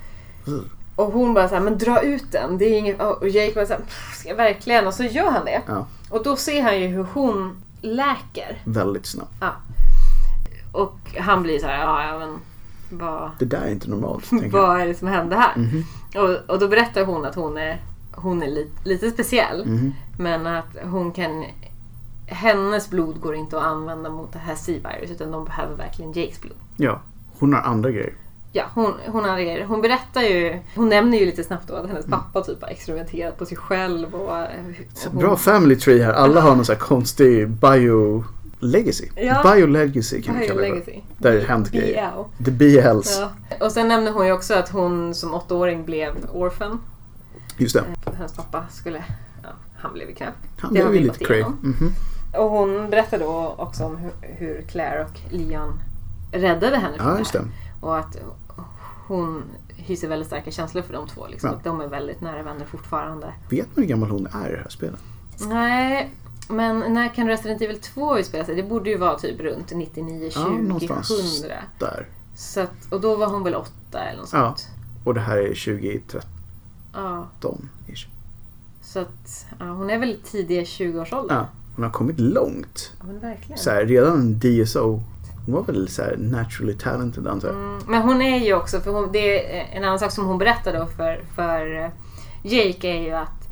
Speaker 2: Och hon bara såhär, men dra ut den. Det är inget... Och Jake bara såhär, "Pff, ska jag verkligen? Och så gör han det.
Speaker 1: Ja.
Speaker 2: Och då ser han ju hur hon läker.
Speaker 1: Väldigt snabbt.
Speaker 2: Ja. Och han blir så här, ja ja, men vad,
Speaker 1: Det där är inte normalt. tänker Mhm. jag.
Speaker 2: Mm. vad är det som hände här? Och, och då berättar hon att hon är, hon är li, lite speciell.
Speaker 1: Mhm.
Speaker 2: Men att hon kan... Hennes blod går inte att använda mot det här Sea Virus utan de behöver verkligen Jakes blod.
Speaker 1: Ja. Hon har andra grejer.
Speaker 2: Ja, hon, hon, har, hon berättar ju, hon nämner ju lite snabbt då att hennes
Speaker 1: Mm.
Speaker 2: pappa typ har experimenterat på sig själv och... och hon,
Speaker 1: Bra family tree här. Alla har någon så här konstig bio legacy.
Speaker 2: Ja.
Speaker 1: Bio legacy kan vi
Speaker 2: bio
Speaker 1: kalla det.
Speaker 2: legacy.
Speaker 1: Där det hänt grejer.
Speaker 2: BL.
Speaker 1: The BLs.
Speaker 2: Ja. Och sen nämner hon ju också att hon som åttaåring blev orphan. Eh,
Speaker 1: Just det.
Speaker 2: Hennes pappa skulle... Ja, han blev ju knäpp.
Speaker 1: Han
Speaker 2: Det har
Speaker 1: blev
Speaker 2: vi
Speaker 1: ju
Speaker 2: gått
Speaker 1: lite cray.
Speaker 2: igenom.
Speaker 1: Mhm.
Speaker 2: Och hon berättar då också om hur, hur Claire och Leon räddade henne från
Speaker 1: Ja,
Speaker 2: det
Speaker 1: just
Speaker 2: här.
Speaker 1: det.
Speaker 2: Och att hon hyser väldigt starka känslor för de två. Liksom.
Speaker 1: Ja.
Speaker 2: Att de är väldigt nära vänner fortfarande.
Speaker 1: Vet man hur gammal hon är i det här spelet?
Speaker 2: Nej, men när kan Resident Evil 2 utspela sig? Det borde ju vara typ runt 99, 20,
Speaker 1: Ja, någonstans
Speaker 2: 100.
Speaker 1: där.
Speaker 2: Så att, och då var hon väl 8 eller något
Speaker 1: Ja.
Speaker 2: sånt.
Speaker 1: Och det här är 2013
Speaker 2: Ja,
Speaker 1: ish.
Speaker 2: så att ja, hon är väl tidiga 20-årsåldern.
Speaker 1: Ja, hon har kommit långt.
Speaker 2: Ja, men verkligen.
Speaker 1: Så här, redan en DSO. Hon var väl så här naturally talented antar jag.
Speaker 2: Mm, Men hon är ju också, för hon, det är en annan sak som hon berättar då för, för eh, Jake är ju att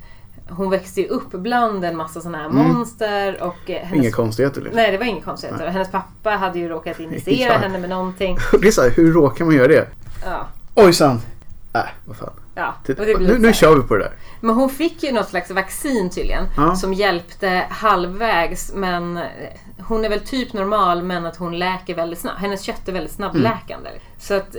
Speaker 2: hon växte ju upp bland en massa sådana
Speaker 1: Mm.
Speaker 2: här monster och eh, hennes,
Speaker 1: Inga konstigheter liksom.
Speaker 2: Nej, det var inga konstigheter. Och Hennes pappa hade ju råkat injicera
Speaker 1: Ja.
Speaker 2: henne med någonting.
Speaker 1: Det är så här, hur råkar man göra det?
Speaker 2: Ja,
Speaker 1: Ojsan! Äh, vad fan.
Speaker 2: ja.
Speaker 1: Det,
Speaker 2: Och det blir
Speaker 1: nu,
Speaker 2: så här.
Speaker 1: nu kör vi på det där.
Speaker 2: Men hon fick ju något slags vaccin tydligen.
Speaker 1: Ja.
Speaker 2: Som hjälpte halvvägs. Men eh, hon är väl typ normal men att hon läker väldigt snabbt. Hennes kött är väldigt snabbläkande.
Speaker 1: Mm.
Speaker 2: Så att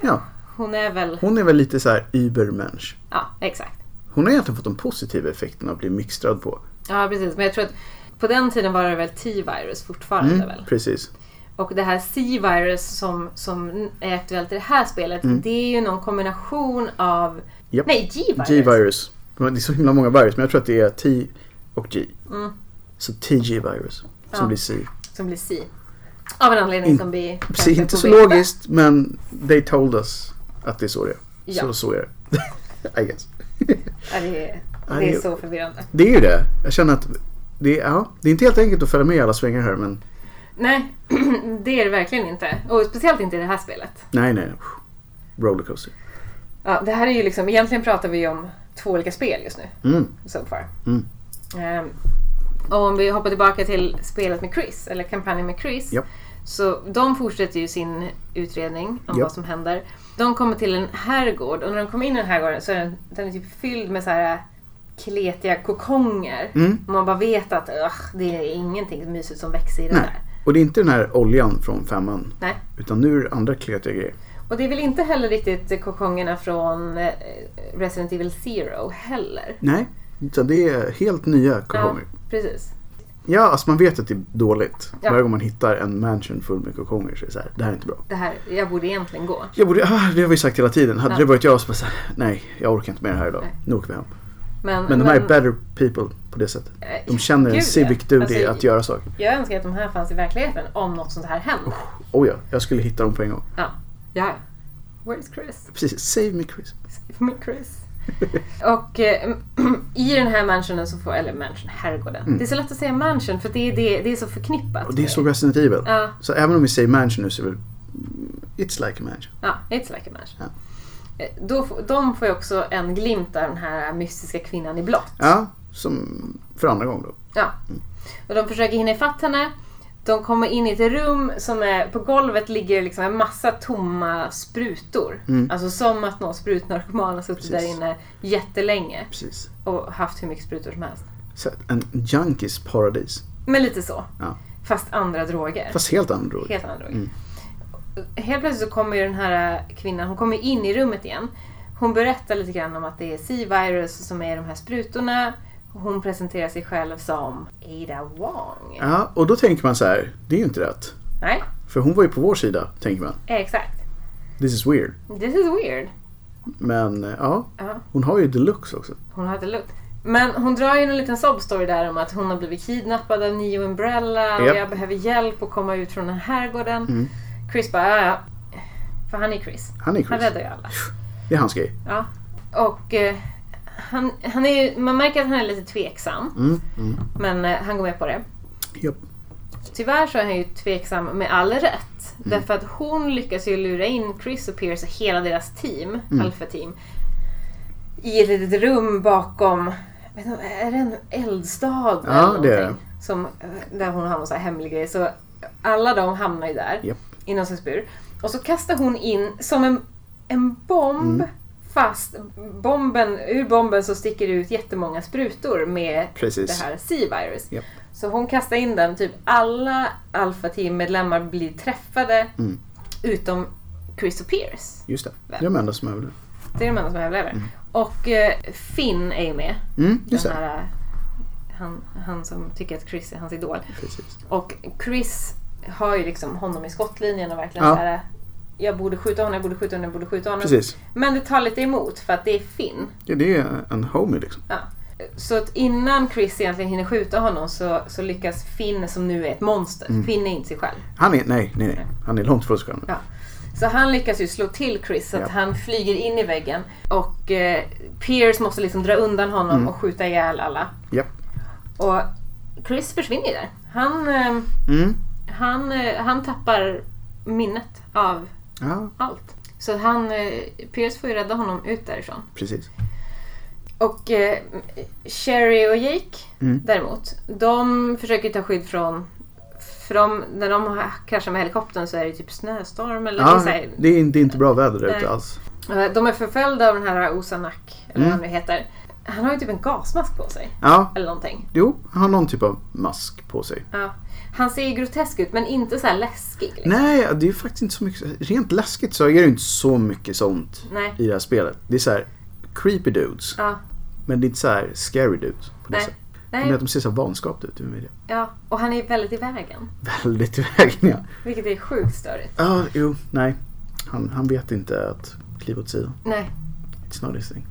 Speaker 1: Ja,
Speaker 2: hon är väl...
Speaker 1: hon är väl lite så här übermensch.
Speaker 2: Ja, exakt.
Speaker 1: Hon har egentligen fått de positiva effekterna att bli mixtrad på.
Speaker 2: Ja, precis. Men jag tror att på den tiden var det väl T-virus fortfarande
Speaker 1: Mm,
Speaker 2: väl?
Speaker 1: precis.
Speaker 2: Och det här C-virus som, som är aktuellt i det här spelet. Det är ju någon kombination av...
Speaker 1: Mm. Japp.
Speaker 2: Nej, G-virus.
Speaker 1: G-virus. Det är så himla många virus men jag tror att det är T och G. Så TG-virus som
Speaker 2: Mm. Ja.
Speaker 1: blir C.
Speaker 2: Som blir C. Av en anledning
Speaker 1: In-
Speaker 2: som vi... kanske
Speaker 1: Precis, inte
Speaker 2: får
Speaker 1: så
Speaker 2: veta.
Speaker 1: logiskt men they told us att det är så det är.
Speaker 2: Ja.
Speaker 1: Så, så är det. I guess.
Speaker 2: Ja, det, är- det är
Speaker 1: Aj.
Speaker 2: så förvirrande.
Speaker 1: Det är ju det. Jag känner att det är, ja, det är inte helt enkelt att följa med i alla svängar här men
Speaker 2: Nej, det är det verkligen inte. Och speciellt inte i det här spelet.
Speaker 1: nej nej. Uff. Rollercoaster.
Speaker 2: Ja, det här är ju liksom, egentligen pratar vi ju om två olika spel just nu.
Speaker 1: Mm.
Speaker 2: So far.
Speaker 1: Mm.
Speaker 2: Ehm, och om vi hoppar tillbaka till spelet med Chris, eller kampanjen med Chris.
Speaker 1: Japp.
Speaker 2: Så de fortsätter ju sin utredning om
Speaker 1: Japp.
Speaker 2: vad som händer. De kommer till en herrgård och när de kommer in i den här gården så är den, den är typ fylld med så här kletiga kokonger.
Speaker 1: Mm.
Speaker 2: Man bara vet att "Ugh, det är ingenting mysigt som växer i den
Speaker 1: Nej.
Speaker 2: där.
Speaker 1: Och det är inte den här oljan från femman.
Speaker 2: Nej.
Speaker 1: Utan nu är det andra kletiga grejer.
Speaker 2: Och det är väl inte heller riktigt kokongerna från eh, Resident Evil Zero heller.
Speaker 1: Nej, utan det är helt nya kokonger.
Speaker 2: Ja, precis.
Speaker 1: Ja, alltså man vet att det är dåligt.
Speaker 2: Ja.
Speaker 1: Varje gång man hittar en mansion full med kokonger så är det så här, det här är inte bra.
Speaker 2: Det här, jag borde egentligen gå.
Speaker 1: Jag borde, ah, det har vi sagt hela tiden. Hade
Speaker 2: Ja.
Speaker 1: det varit jag så bara så här, nej, jag orkar inte med det här idag.
Speaker 2: Nej.
Speaker 1: Nu åker vi hem.
Speaker 2: Men,
Speaker 1: Men, de här är better people på det sättet.
Speaker 2: eh,
Speaker 1: De känner en
Speaker 2: gud,
Speaker 1: civic duty
Speaker 2: alltså,
Speaker 1: att göra saker.
Speaker 2: Jag önskar att de här fanns i verkligheten om något sånt här händer.
Speaker 1: Oh ja, jag skulle hitta dem på en gång.
Speaker 2: Ja. ja. Where is Chris?
Speaker 1: Precis, save me Chris.
Speaker 2: Save me Chris. Och eh, i den här mansionen så får, eller mansion, herrgården. Det är så lätt att säga mansion för det är, det, det är så förknippat.
Speaker 1: Och Mm. det är
Speaker 2: med
Speaker 1: så Resident Evil.
Speaker 2: Alltså, Ja.
Speaker 1: Så även om vi säger mansion nu så är det väl, it's like a mansion.
Speaker 2: Ja, It's like a mansion. Eh, Då, får- de får ju också en glimt av den här mystiska kvinnan i blått.
Speaker 1: Ja, som för andra gången då.
Speaker 2: Ja. Och de försöker hinna ifatt henne. De kommer in i ett rum som är, på golvet ligger liksom en massa tomma sprutor. Alltså som att någon sprutnarkoman har suttit där
Speaker 1: Mm. Precis.
Speaker 2: inne jättelänge
Speaker 1: Precis.
Speaker 2: och haft hur mycket sprutor som helst.
Speaker 1: Så att en junkies paradis.
Speaker 2: Men lite så.
Speaker 1: Ja. Mm.
Speaker 2: Fast andra droger.
Speaker 1: Fast helt andra droger.
Speaker 2: Helt andra droger. Helt plötsligt så kommer ju den här kvinnan, hon kommer in i rummet igen. Hon berättar lite grann om att det är C-virus som är de här sprutorna. Hon presenterar sig själv som Ada Wong.
Speaker 1: Ja, och då tänker man så här, det är ju inte rätt.
Speaker 2: Nej,
Speaker 1: För hon var ju på vår sida, tänker man.
Speaker 2: exakt.
Speaker 1: This is weird.
Speaker 2: This is weird.
Speaker 1: Men eh, ja,
Speaker 2: Ja.
Speaker 1: hon har ju deluxe också.
Speaker 2: Hon hade lugnt. Men hon drar ju en liten sob-story där om att hon har blivit kidnappad av Neo Umbrella
Speaker 1: Japp. Mm.
Speaker 2: och jag behöver hjälp att komma ut från den här gården. Chris bara, ja, ja. För han är Chris.
Speaker 1: Han är
Speaker 2: Han
Speaker 1: Chris.
Speaker 2: räddar ju alla.
Speaker 1: Det är hans grej.
Speaker 2: Ja. Och eh, han, han är, ju- man märker att han är lite tveksam.
Speaker 1: Mm, mm.
Speaker 2: Men eh, han går med på det.
Speaker 1: Japp.
Speaker 2: Tyvärr så är han ju tveksam med all rätt.
Speaker 1: Mm.
Speaker 2: Därför att hon lyckas ju lura in Chris och Pierce och hela deras team,
Speaker 1: Mm.
Speaker 2: Alpha-team, i ett litet rum bakom, jag vet inte, är det en eldstad
Speaker 1: Ja, det är
Speaker 2: någonting? Som, där hon har någon så här hemlig grej. Så alla de hamnar ju där
Speaker 1: Japp.
Speaker 2: i någon slags bur. Och så kastar hon in som en, en bomb
Speaker 1: Mm.
Speaker 2: Fast bomben, ur bomben så sticker det ut jättemånga sprutor med
Speaker 1: Precis.
Speaker 2: det här C-virus.
Speaker 1: Japp.
Speaker 2: Så hon kastar in den, typ alla Alpha Team-medlemmar blir träffade
Speaker 1: Mm.
Speaker 2: utom Chris och Pierce.
Speaker 1: Just det. Det är de enda som överlever.
Speaker 2: Det är de enda som överlever. Och eh, Finn är ju med.
Speaker 1: Mm, just
Speaker 2: den
Speaker 1: det.
Speaker 2: här, eh, han, han som tycker att Chris är hans idol.
Speaker 1: Precis.
Speaker 2: Och Chris har ju liksom honom i skottlinjen och verkligen
Speaker 1: Ja.
Speaker 2: så här. eh, Jag borde skjuta honom, jag borde skjuta honom, jag borde skjuta honom.
Speaker 1: Precis.
Speaker 2: Men det tar lite emot för att det är Finn.
Speaker 1: Ja, det är en homie liksom.
Speaker 2: Ja. Så att innan Chris egentligen hinner skjuta honom så, så lyckas Finn, som nu är ett monster,
Speaker 1: Mm.
Speaker 2: Finn är inte sig själv.
Speaker 1: Han är, nej, nej, nej. Han är långt från sig själv.
Speaker 2: Ja. Så han lyckas ju slå till Chris så att
Speaker 1: Ja.
Speaker 2: han flyger in i väggen. Och eh, Pierce måste liksom dra undan honom och skjuta ihjäl alla.
Speaker 1: Mm. Japp.
Speaker 2: Och Chris försvinner ju där. Han, eh,
Speaker 1: Mm.
Speaker 2: han, eh, han tappar minnet av
Speaker 1: Ja,
Speaker 2: allt. Så att han, eh, Pierce får ju rädda honom ut därifrån.
Speaker 1: precis.
Speaker 2: Och eh, Sherry och Jake
Speaker 1: Mm.
Speaker 2: däremot, de försöker ta skydd från... För de, när de har- kraschar med helikoptern så är det typ snöstorm eller
Speaker 1: Ja,
Speaker 2: ja. så här,
Speaker 1: det, är, inte- det är inte bra väder där
Speaker 2: Nej.
Speaker 1: ute alls.
Speaker 2: Eh, De är förföljda av den här Osanak, eller
Speaker 1: Mm.
Speaker 2: vad han nu heter. Han har ju typ en gasmask på sig.
Speaker 1: Ja,
Speaker 2: Eller någonting.
Speaker 1: jo, han har någon typ av mask på sig.
Speaker 2: Ja. Han ser ju grotesk ut men inte så här läskig. Liksom.
Speaker 1: Nej, det är faktiskt inte så mycket. Rent läskigt så är det ju inte så mycket sånt
Speaker 2: Nej.
Speaker 1: i det här spelet. Det är så här creepy dudes.
Speaker 2: Ja.
Speaker 1: Men det är inte så här scary dudes på det
Speaker 2: Nej.
Speaker 1: sättet. Men att
Speaker 2: Nej.
Speaker 1: de ser så här vanskapta ut. hur är det?
Speaker 2: Ja. Och han är väldigt i vägen.
Speaker 1: Väldigt i vägen ja.
Speaker 2: Vilket är sjukt störigt.
Speaker 1: Ja, jo, nej. Han, han vet inte att kliva åt sidan.
Speaker 2: Nej.
Speaker 1: It's not his thing.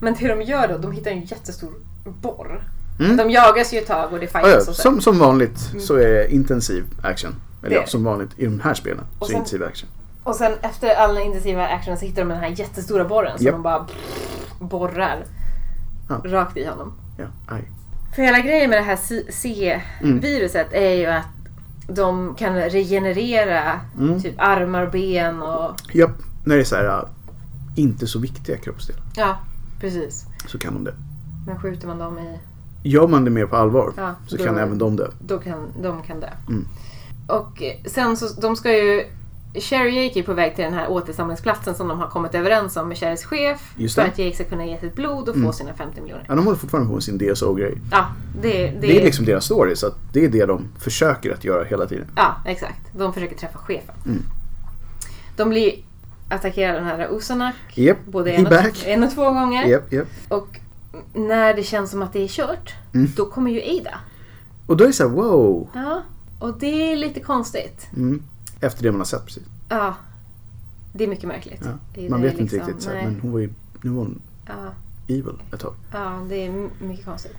Speaker 2: Men det de gör då, de hittar en jättestor borr.
Speaker 1: Mm.
Speaker 2: De jagas ju ett tag och det
Speaker 1: Ja, ja,
Speaker 2: fightas och så.
Speaker 1: som, som vanligt så är det intensiv action. Eller
Speaker 2: Mm. Det är
Speaker 1: ja,
Speaker 2: det.
Speaker 1: som vanligt i de här spelen så
Speaker 2: Och
Speaker 1: är det
Speaker 2: sen-
Speaker 1: intensiv action.
Speaker 2: Och sen efter all den intensiva actionen så hittar de den här jättestora borren som
Speaker 1: Japp.
Speaker 2: de bara borrar
Speaker 1: Ja.
Speaker 2: rakt i honom.
Speaker 1: Ja, aj.
Speaker 2: För hela grejen med det här
Speaker 1: Mm.
Speaker 2: C- C-viruset är ju att de kan regenerera
Speaker 1: Mm.
Speaker 2: typ armar och ben och...
Speaker 1: Japp, när det är så här äh, inte så viktiga kroppsdelar
Speaker 2: Ja, precis.
Speaker 1: så kan de det.
Speaker 2: Men skjuter man dem i...
Speaker 1: Gör man det mer på allvar
Speaker 2: Ja,
Speaker 1: så
Speaker 2: då-
Speaker 1: kan även de dö.
Speaker 2: Då kan de kan dö.
Speaker 1: Mm.
Speaker 2: Och eh, sen så, de ska ju... Sherry och Jake är på väg till den här återsamlingsplatsen som de har kommit överens om med Sherrys chef.
Speaker 1: Just
Speaker 2: för
Speaker 1: det. Mm.
Speaker 2: att Jake ska kunna ge sitt blod och få sina 50 miljoner.
Speaker 1: Ja, de håller fortfarande på med sin DSO-grej.
Speaker 2: Ja, det, det,
Speaker 1: Det är liksom deras story så att det är det de försöker att göra hela tiden.
Speaker 2: Ja, exakt. De försöker träffa chefen.
Speaker 1: Mm.
Speaker 2: De blir attackerade av den här Osanak.
Speaker 1: Japp,
Speaker 2: Både
Speaker 1: he
Speaker 2: en och,
Speaker 1: back.
Speaker 2: en och två gånger.
Speaker 1: Japp, japp.
Speaker 2: Och när det känns som att det är kört,
Speaker 1: Mm.
Speaker 2: då kommer ju Ada.
Speaker 1: Och då är det så här, wow.
Speaker 2: Ja. Och det är lite konstigt.
Speaker 1: Mm. Efter det man har sett precis.
Speaker 2: Ja. Det är mycket märkligt.
Speaker 1: Ja.
Speaker 2: Det-
Speaker 1: Man
Speaker 2: det är
Speaker 1: vet inte
Speaker 2: liksom-
Speaker 1: riktigt. Så här,
Speaker 2: nej.
Speaker 1: men hon var ju, nu var hon
Speaker 2: Ja.
Speaker 1: evil ett tag.
Speaker 2: Ja, det är m- mycket konstigt.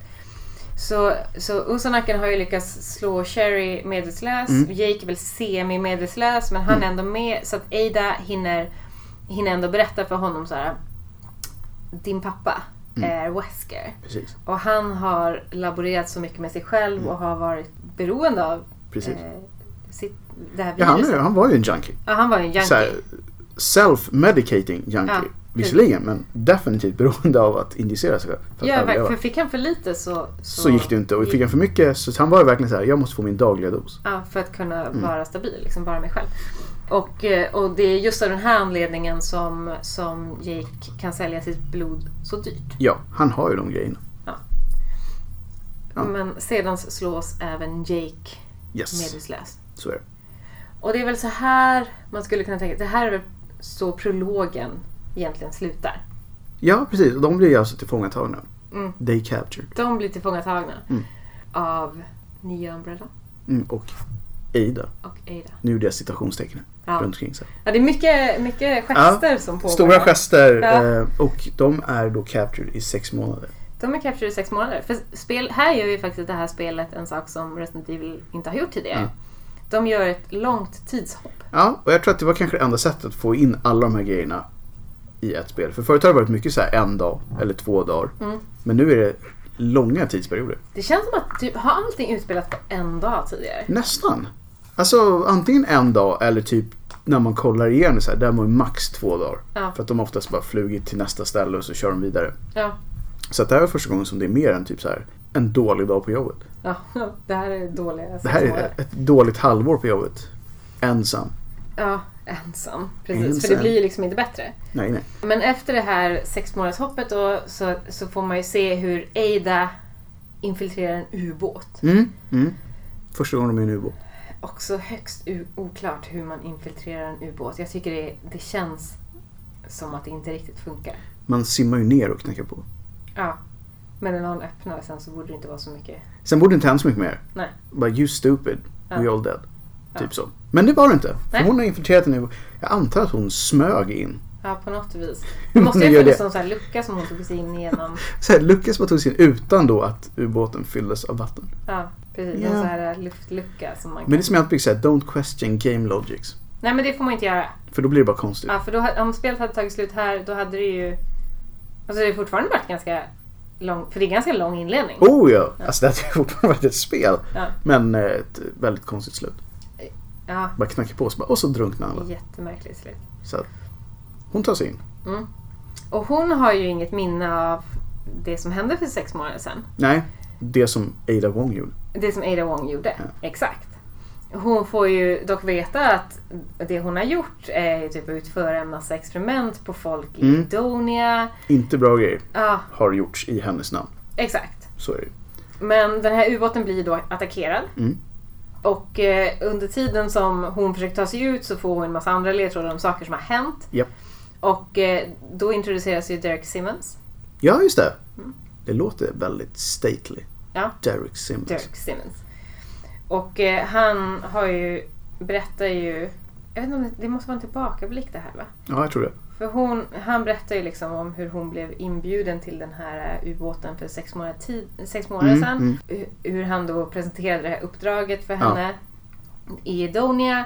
Speaker 2: Så, så Usanaken har ju lyckats slå Sherry medvetslös.
Speaker 1: Mm.
Speaker 2: Jake är väl semi-medvetslös men han är ändå med. Så att Ada hinner, hinner ändå berätta för honom så här. Din pappa
Speaker 1: Mm.
Speaker 2: är Wesker.
Speaker 1: Precis.
Speaker 2: Och han har laborerat så mycket med sig själv och har varit beroende av
Speaker 1: Mm. Precis.
Speaker 2: eh, sitt, det här
Speaker 1: Ja, han,
Speaker 2: viruset.
Speaker 1: är, han var ju en junkie.
Speaker 2: Ja, han var ju en
Speaker 1: Så
Speaker 2: junkie.
Speaker 1: här, self-medicating junkie.
Speaker 2: Ja,
Speaker 1: Visserligen, men definitivt beroende av att injicera sig själv. För att
Speaker 2: Ja, verkligen.
Speaker 1: överleva.
Speaker 2: För fick han för lite så...
Speaker 1: så gick det inte. Och fick han för mycket så han var ju verkligen så här, jag måste få min dagliga dos.
Speaker 2: Ja, för att kunna
Speaker 1: Mm.
Speaker 2: vara stabil, liksom vara mig själv. Och, eh, och det är just av den här anledningen som, som Jake kan sälja sitt blod så dyrt.
Speaker 1: Ja, han har ju de grejerna. Ja.
Speaker 2: Men sedan slås även Jake
Speaker 1: Yes,
Speaker 2: medvetslös.
Speaker 1: så är det.
Speaker 2: Och det är väl så här man skulle kunna tänka, det här är väl så prologen egentligen slutar.
Speaker 1: Ja, precis. Och de blir ju alltså tillfångatagna.
Speaker 2: Mm.
Speaker 1: They captured.
Speaker 2: De blir tillfångatagna
Speaker 1: Mm.
Speaker 2: av Nya Umbrella
Speaker 1: Mm. Och Ada.
Speaker 2: och Ada.
Speaker 1: Nu gjorde jag citationstecken
Speaker 2: Ja.
Speaker 1: runt omkring sig.
Speaker 2: Ja, det är mycket, mycket gester som pågår.
Speaker 1: Stora
Speaker 2: här.
Speaker 1: gester.
Speaker 2: Ja.
Speaker 1: eh, Och de är då captured i sex månader.
Speaker 2: De är captured i sex månader. För spel, här gör ju faktiskt det här spelet en sak som Resident Evil inte har gjort tidigare.
Speaker 1: Ja.
Speaker 2: De gör ett långt tidshopp.
Speaker 1: Ja, och jag tror att det var kanske det enda sättet att få in alla de här grejerna i ett spel. För förut har det varit mycket så här en dag eller två dagar.
Speaker 2: Mm.
Speaker 1: Men nu är det långa tidsperioder.
Speaker 2: Det känns som att typ, har allting utspelats på en dag tidigare?
Speaker 1: Nästan. Alltså antingen en dag eller typ när man kollar igen så här, där var ju max två dagar.
Speaker 2: Ja.
Speaker 1: För att de oftast bara flugit till nästa ställe och så kör de vidare.
Speaker 2: Ja.
Speaker 1: Så att det här är första gången som det är mer än typ så här en dålig dag på jobbet.
Speaker 2: ja. Det här är dåliga sex
Speaker 1: Det här är
Speaker 2: månader.
Speaker 1: ett dåligt halvår på jobbet. Ensam.
Speaker 2: Ja, ensam. Precis, för
Speaker 1: Ensam.
Speaker 2: det blir ju liksom inte bättre.
Speaker 1: Nej, nej.
Speaker 2: Men efter det här sex månadershoppet då så, så får man ju se hur Ada infiltrerar en ubåt.
Speaker 1: Mm. Mm. Första gången de är i en ubåt.
Speaker 2: Också högst u- oklart hur man infiltrerar en ubåt. Jag tycker det, det känns som att det inte riktigt funkar.
Speaker 1: Man simmar ju ner och knackar på.
Speaker 2: Ja. Men när någon öppnar sen så borde det inte vara så mycket.
Speaker 1: Sen borde det inte hänt så mycket mer.
Speaker 2: Nej.
Speaker 1: Bara you stupid,
Speaker 2: Ja.
Speaker 1: we all dead.
Speaker 2: Ja.
Speaker 1: Typ så. Men det var det inte. För
Speaker 2: Nej.
Speaker 1: hon har infiltrerat en ubåt. Jag antar att hon smög in.
Speaker 2: Ja, på något vis. Det
Speaker 1: Hon
Speaker 2: måste ju
Speaker 1: gör
Speaker 2: ha funnits
Speaker 1: det.
Speaker 2: någon sån här lucka som hon tog sig in igenom.
Speaker 1: Så här, Lucas bara tog sig in utan då att ubåten fylldes av vatten.
Speaker 2: Ja, precis.
Speaker 1: Ja.
Speaker 2: Någon sån här luftlucka som man kan...
Speaker 1: Men det är som jag alltid brukar säga, don't question game logics.
Speaker 2: Nej, men det får man inte göra.
Speaker 1: För då blir det bara konstigt.
Speaker 2: Ja, för då, ha- om spelet hade tagit slut här, då hade det ju... Alltså det har fortfarande varit ganska lång... För det är ganska lång inledning.
Speaker 1: Oh ja! Alltså det hade ju fortfarande varit ett spel.
Speaker 2: Ja.
Speaker 1: Men eh, ett väldigt konstigt slut.
Speaker 2: Ja,
Speaker 1: Bara knackar på och så, bara, och så drunknar alla.
Speaker 2: jättemärkligt slut.
Speaker 1: Så att hon tar sig in.
Speaker 2: Och hon har ju inget minne av det som hände för sex månader sedan.
Speaker 1: Nej, det som Ada Wong gjorde.
Speaker 2: Det som Ada Wong gjorde. Exakt. Hon får ju dock veta att det hon har gjort är ju typ att utföra en massa experiment på folk i
Speaker 1: Mm.
Speaker 2: Edonia.
Speaker 1: Inte bra grejer
Speaker 2: Ja,
Speaker 1: har gjorts i hennes namn.
Speaker 2: exakt.
Speaker 1: Så är det ju.
Speaker 2: Men den här ubåten blir då attackerad.
Speaker 1: Mm.
Speaker 2: Och eh, under tiden som hon försöker ta sig ut så får hon en massa andra ledtrådar om saker som har hänt.
Speaker 1: Japp.
Speaker 2: Och eh, då introduceras ju Derek Simmons.
Speaker 1: Ja, just det. Det låter väldigt stately.
Speaker 2: Ja.
Speaker 1: Derek Simmons.
Speaker 2: Derek Simmons. Och eh, han har ju, berättar ju, jag vet inte om det, det måste vara en tillbakablick det här va?
Speaker 1: Ja, jag tror det.
Speaker 2: För hon, han berättar ju liksom om hur hon blev inbjuden till den här eh, ubåten för sex månader, tid, sex månader
Speaker 1: Mm,
Speaker 2: sedan.
Speaker 1: mm.
Speaker 2: Hur, hur han då presenterade det här uppdraget för
Speaker 1: Ja.
Speaker 2: henne i Edonia.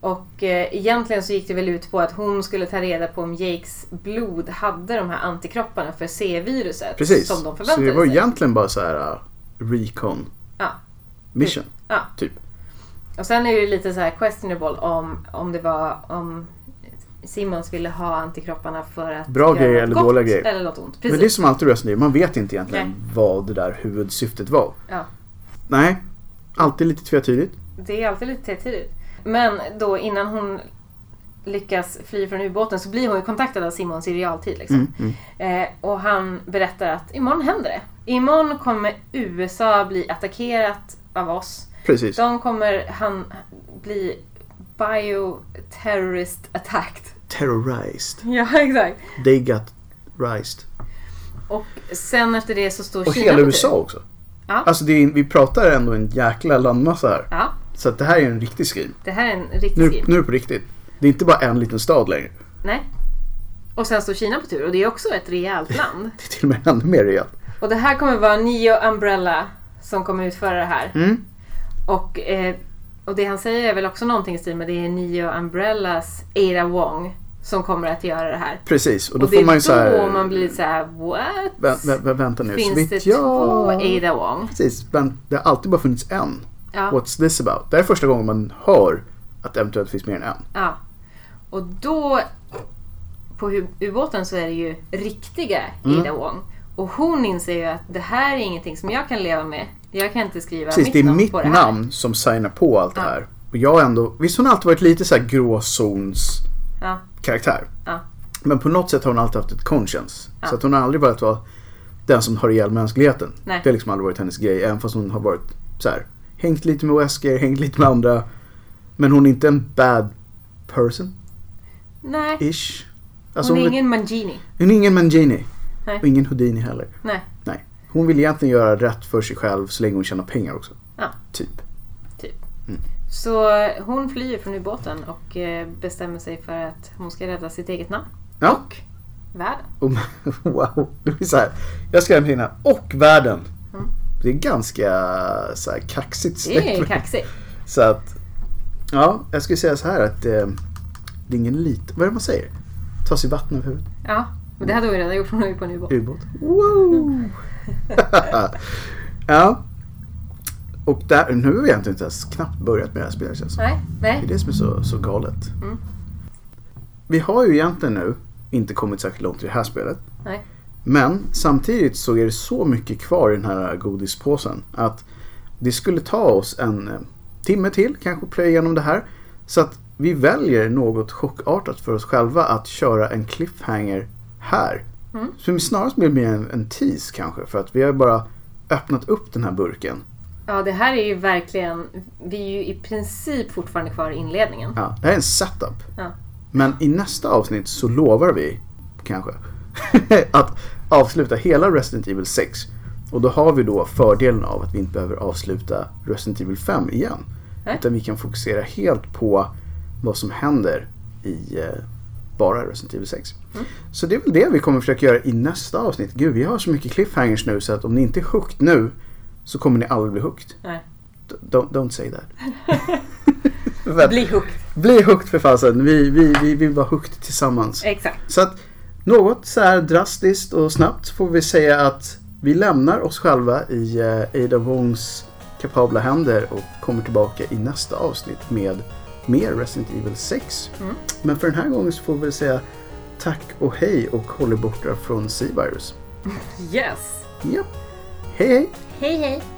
Speaker 2: Och eh, egentligen så gick det väl ut på att hon skulle ta reda på om Jakes blod hade de här antikropparna för C-viruset
Speaker 1: Precis.
Speaker 2: som de
Speaker 1: så
Speaker 2: förväntade
Speaker 1: det var
Speaker 2: sig.
Speaker 1: egentligen bara så här uh, recon
Speaker 2: Ja.
Speaker 1: mission.
Speaker 2: Ja.
Speaker 1: Typ.
Speaker 2: Och sen är det lite så här questionable om, om det var om Simons ville ha antikropparna för att
Speaker 1: Bra
Speaker 2: göra
Speaker 1: grejer
Speaker 2: något
Speaker 1: eller
Speaker 2: gott
Speaker 1: dåliga grejer.
Speaker 2: Eller något ont. Precis.
Speaker 1: Men det är som alltid Resident Evil, man vet inte egentligen
Speaker 2: Nej.
Speaker 1: vad det där huvudsyftet var.
Speaker 2: Ja.
Speaker 1: Nej, alltid lite tvetydigt.
Speaker 2: Det är alltid lite tidigt. Men då innan hon lyckas fly från ubåten så blir hon ju kontaktad av Simons i realtid. Liksom.
Speaker 1: Mm, mm.
Speaker 2: Eh, och han berättar att imorgon händer det. Imorgon kommer USA bli attackerat av oss.
Speaker 1: Precis.
Speaker 2: De kommer han bli bioterrorist attacked.
Speaker 1: Terrorized.
Speaker 2: Ja, exakt.
Speaker 1: They got rised.
Speaker 2: Och sen efter det så står
Speaker 1: Och
Speaker 2: Kina
Speaker 1: hela
Speaker 2: på tur.
Speaker 1: USA också.
Speaker 2: Ja.
Speaker 1: Alltså det är, vi pratar ändå en jäkla landmassa här.
Speaker 2: Ja,
Speaker 1: Så att det här är en riktig scream.
Speaker 2: det här är en riktig
Speaker 1: Nu,
Speaker 2: skriv.
Speaker 1: nu på riktigt. Det är inte bara en liten stad längre.
Speaker 2: Nej. Och sen står Kina på tur och det är också ett rejält land.
Speaker 1: Det är till och med ännu mer rejält.
Speaker 2: Och det här kommer vara Neo Umbrella som kommer utföra det här.
Speaker 1: Mm.
Speaker 2: Och, eh, och det han säger är väl också någonting i stil med det är Neo Umbrellas Ada Wong som kommer att göra det här.
Speaker 1: Precis, och då
Speaker 2: Och det
Speaker 1: får man
Speaker 2: är
Speaker 1: ju så här...
Speaker 2: då man blir lite såhär what?
Speaker 1: Vä- vä- vä- vänta nu, så
Speaker 2: Finns
Speaker 1: vitt
Speaker 2: det
Speaker 1: jag...
Speaker 2: två Ada Wong?
Speaker 1: Precis, men det har alltid bara funnits en.
Speaker 2: Ja,
Speaker 1: What's this about? Det här är första gången man hör att det eventuellt finns mer än en.
Speaker 2: ja. Och då på hu- ubåten så är det ju riktiga
Speaker 1: Mm.
Speaker 2: Ada Wong. Och hon inser ju att det här är ingenting som jag kan leva med. Jag kan inte skriva
Speaker 1: Precis,
Speaker 2: mitt
Speaker 1: det är
Speaker 2: namn
Speaker 1: mitt
Speaker 2: på det här.
Speaker 1: namn som signar på allt det
Speaker 2: Ja.
Speaker 1: här. Och jag har ändå... Visst hon har alltid varit lite så här gråzons
Speaker 2: Ja,
Speaker 1: karaktär.
Speaker 2: Ja.
Speaker 1: Men på något sätt har hon alltid haft ett conscience.
Speaker 2: Ja.
Speaker 1: Så att hon har aldrig varit vara den som har ihjäl mänskligheten.
Speaker 2: Nej.
Speaker 1: Det har liksom aldrig varit hennes grej. Även fast hon har varit så här, hängt lite med Wesker, hängt lite med andra. Men hon är inte en bad person-ish.
Speaker 2: nej.
Speaker 1: Alltså
Speaker 2: hon är
Speaker 1: hon,
Speaker 2: ingen Mangini.
Speaker 1: hon är ingen Mangini.
Speaker 2: Nej.
Speaker 1: Och ingen Houdini heller.
Speaker 2: Nej.
Speaker 1: Nej. Hon vill egentligen göra rätt för sig själv så länge hon tjänar pengar också.
Speaker 2: Ja.
Speaker 1: Typ.
Speaker 2: Så eh, hon flyr från ubåten och eh, bestämmer sig för att hon ska rädda sitt eget namn.
Speaker 1: Ja.
Speaker 2: Världen.
Speaker 1: Och, Um, wow. Det blir så här. Jag ska hem till henne. Och världen.
Speaker 2: Mm.
Speaker 1: Det är ganska så här, kaxigt
Speaker 2: Det är
Speaker 1: släpp.
Speaker 2: kaxigt.
Speaker 1: Så att. Ja, jag skulle säga så här att eh, det är ingen liten, vad är det man säger? Ta sig vatten över huvudet.
Speaker 2: Ja, men det hade hon ju redan gjort. Hon var ju på en ubåt.
Speaker 1: Ubåt. Wow! ja. Och där, nu har vi egentligen inte ens knappt börjat med det här spelet känns det som.
Speaker 2: Nej,
Speaker 1: Det
Speaker 2: nej.
Speaker 1: är det som är så, så galet.
Speaker 2: Mm.
Speaker 1: Vi har ju egentligen nu inte kommit särskilt långt i det här spelet.
Speaker 2: Nej.
Speaker 1: Men samtidigt så är det så mycket kvar i den här godispåsen att det skulle ta oss en eh, timme till kanske att plöja igenom det här. Så att vi väljer något chockartat för oss själva att köra en cliffhanger här.
Speaker 2: Mm.
Speaker 1: Som snarast blir mer en, en tease kanske för att vi har ju bara öppnat upp den här burken.
Speaker 2: Ja, det här är ju verkligen... Vi är ju i princip fortfarande kvar i inledningen.
Speaker 1: Ja, det här är en setup.
Speaker 2: Ja.
Speaker 1: Men i nästa avsnitt så lovar vi, kanske, att avsluta hela Resident Evil 6. Och då har vi då fördelen av att vi inte behöver avsluta Resident Evil 5 igen.
Speaker 2: Nej.
Speaker 1: Utan vi kan fokusera helt på vad som händer i eh, bara Resident Evil 6.
Speaker 2: Mm.
Speaker 1: Så det är väl det vi kommer försöka göra i nästa avsnitt. Gud, vi har så mycket cliffhangers nu så att om ni inte är hooked nu så kommer ni aldrig bli hooked.
Speaker 2: Nej.
Speaker 1: D- Don't, don't say that. Väl-
Speaker 2: Bli hooked.
Speaker 1: bli hooked för fasen. Vi, vi, vi vill vara hooked tillsammans.
Speaker 2: Exakt.
Speaker 1: Så att något så här drastiskt och snabbt får vi säga att vi lämnar oss själva i eh, Ada Wongs kapabla händer och kommer tillbaka i nästa avsnitt med mer Resident Evil 6.
Speaker 2: Mm.
Speaker 1: Men för den här gången så får vi väl säga tack och hej och håll er borta från C-virus.
Speaker 2: Yes.
Speaker 1: Japp. Hej hej!
Speaker 2: Hej, hej.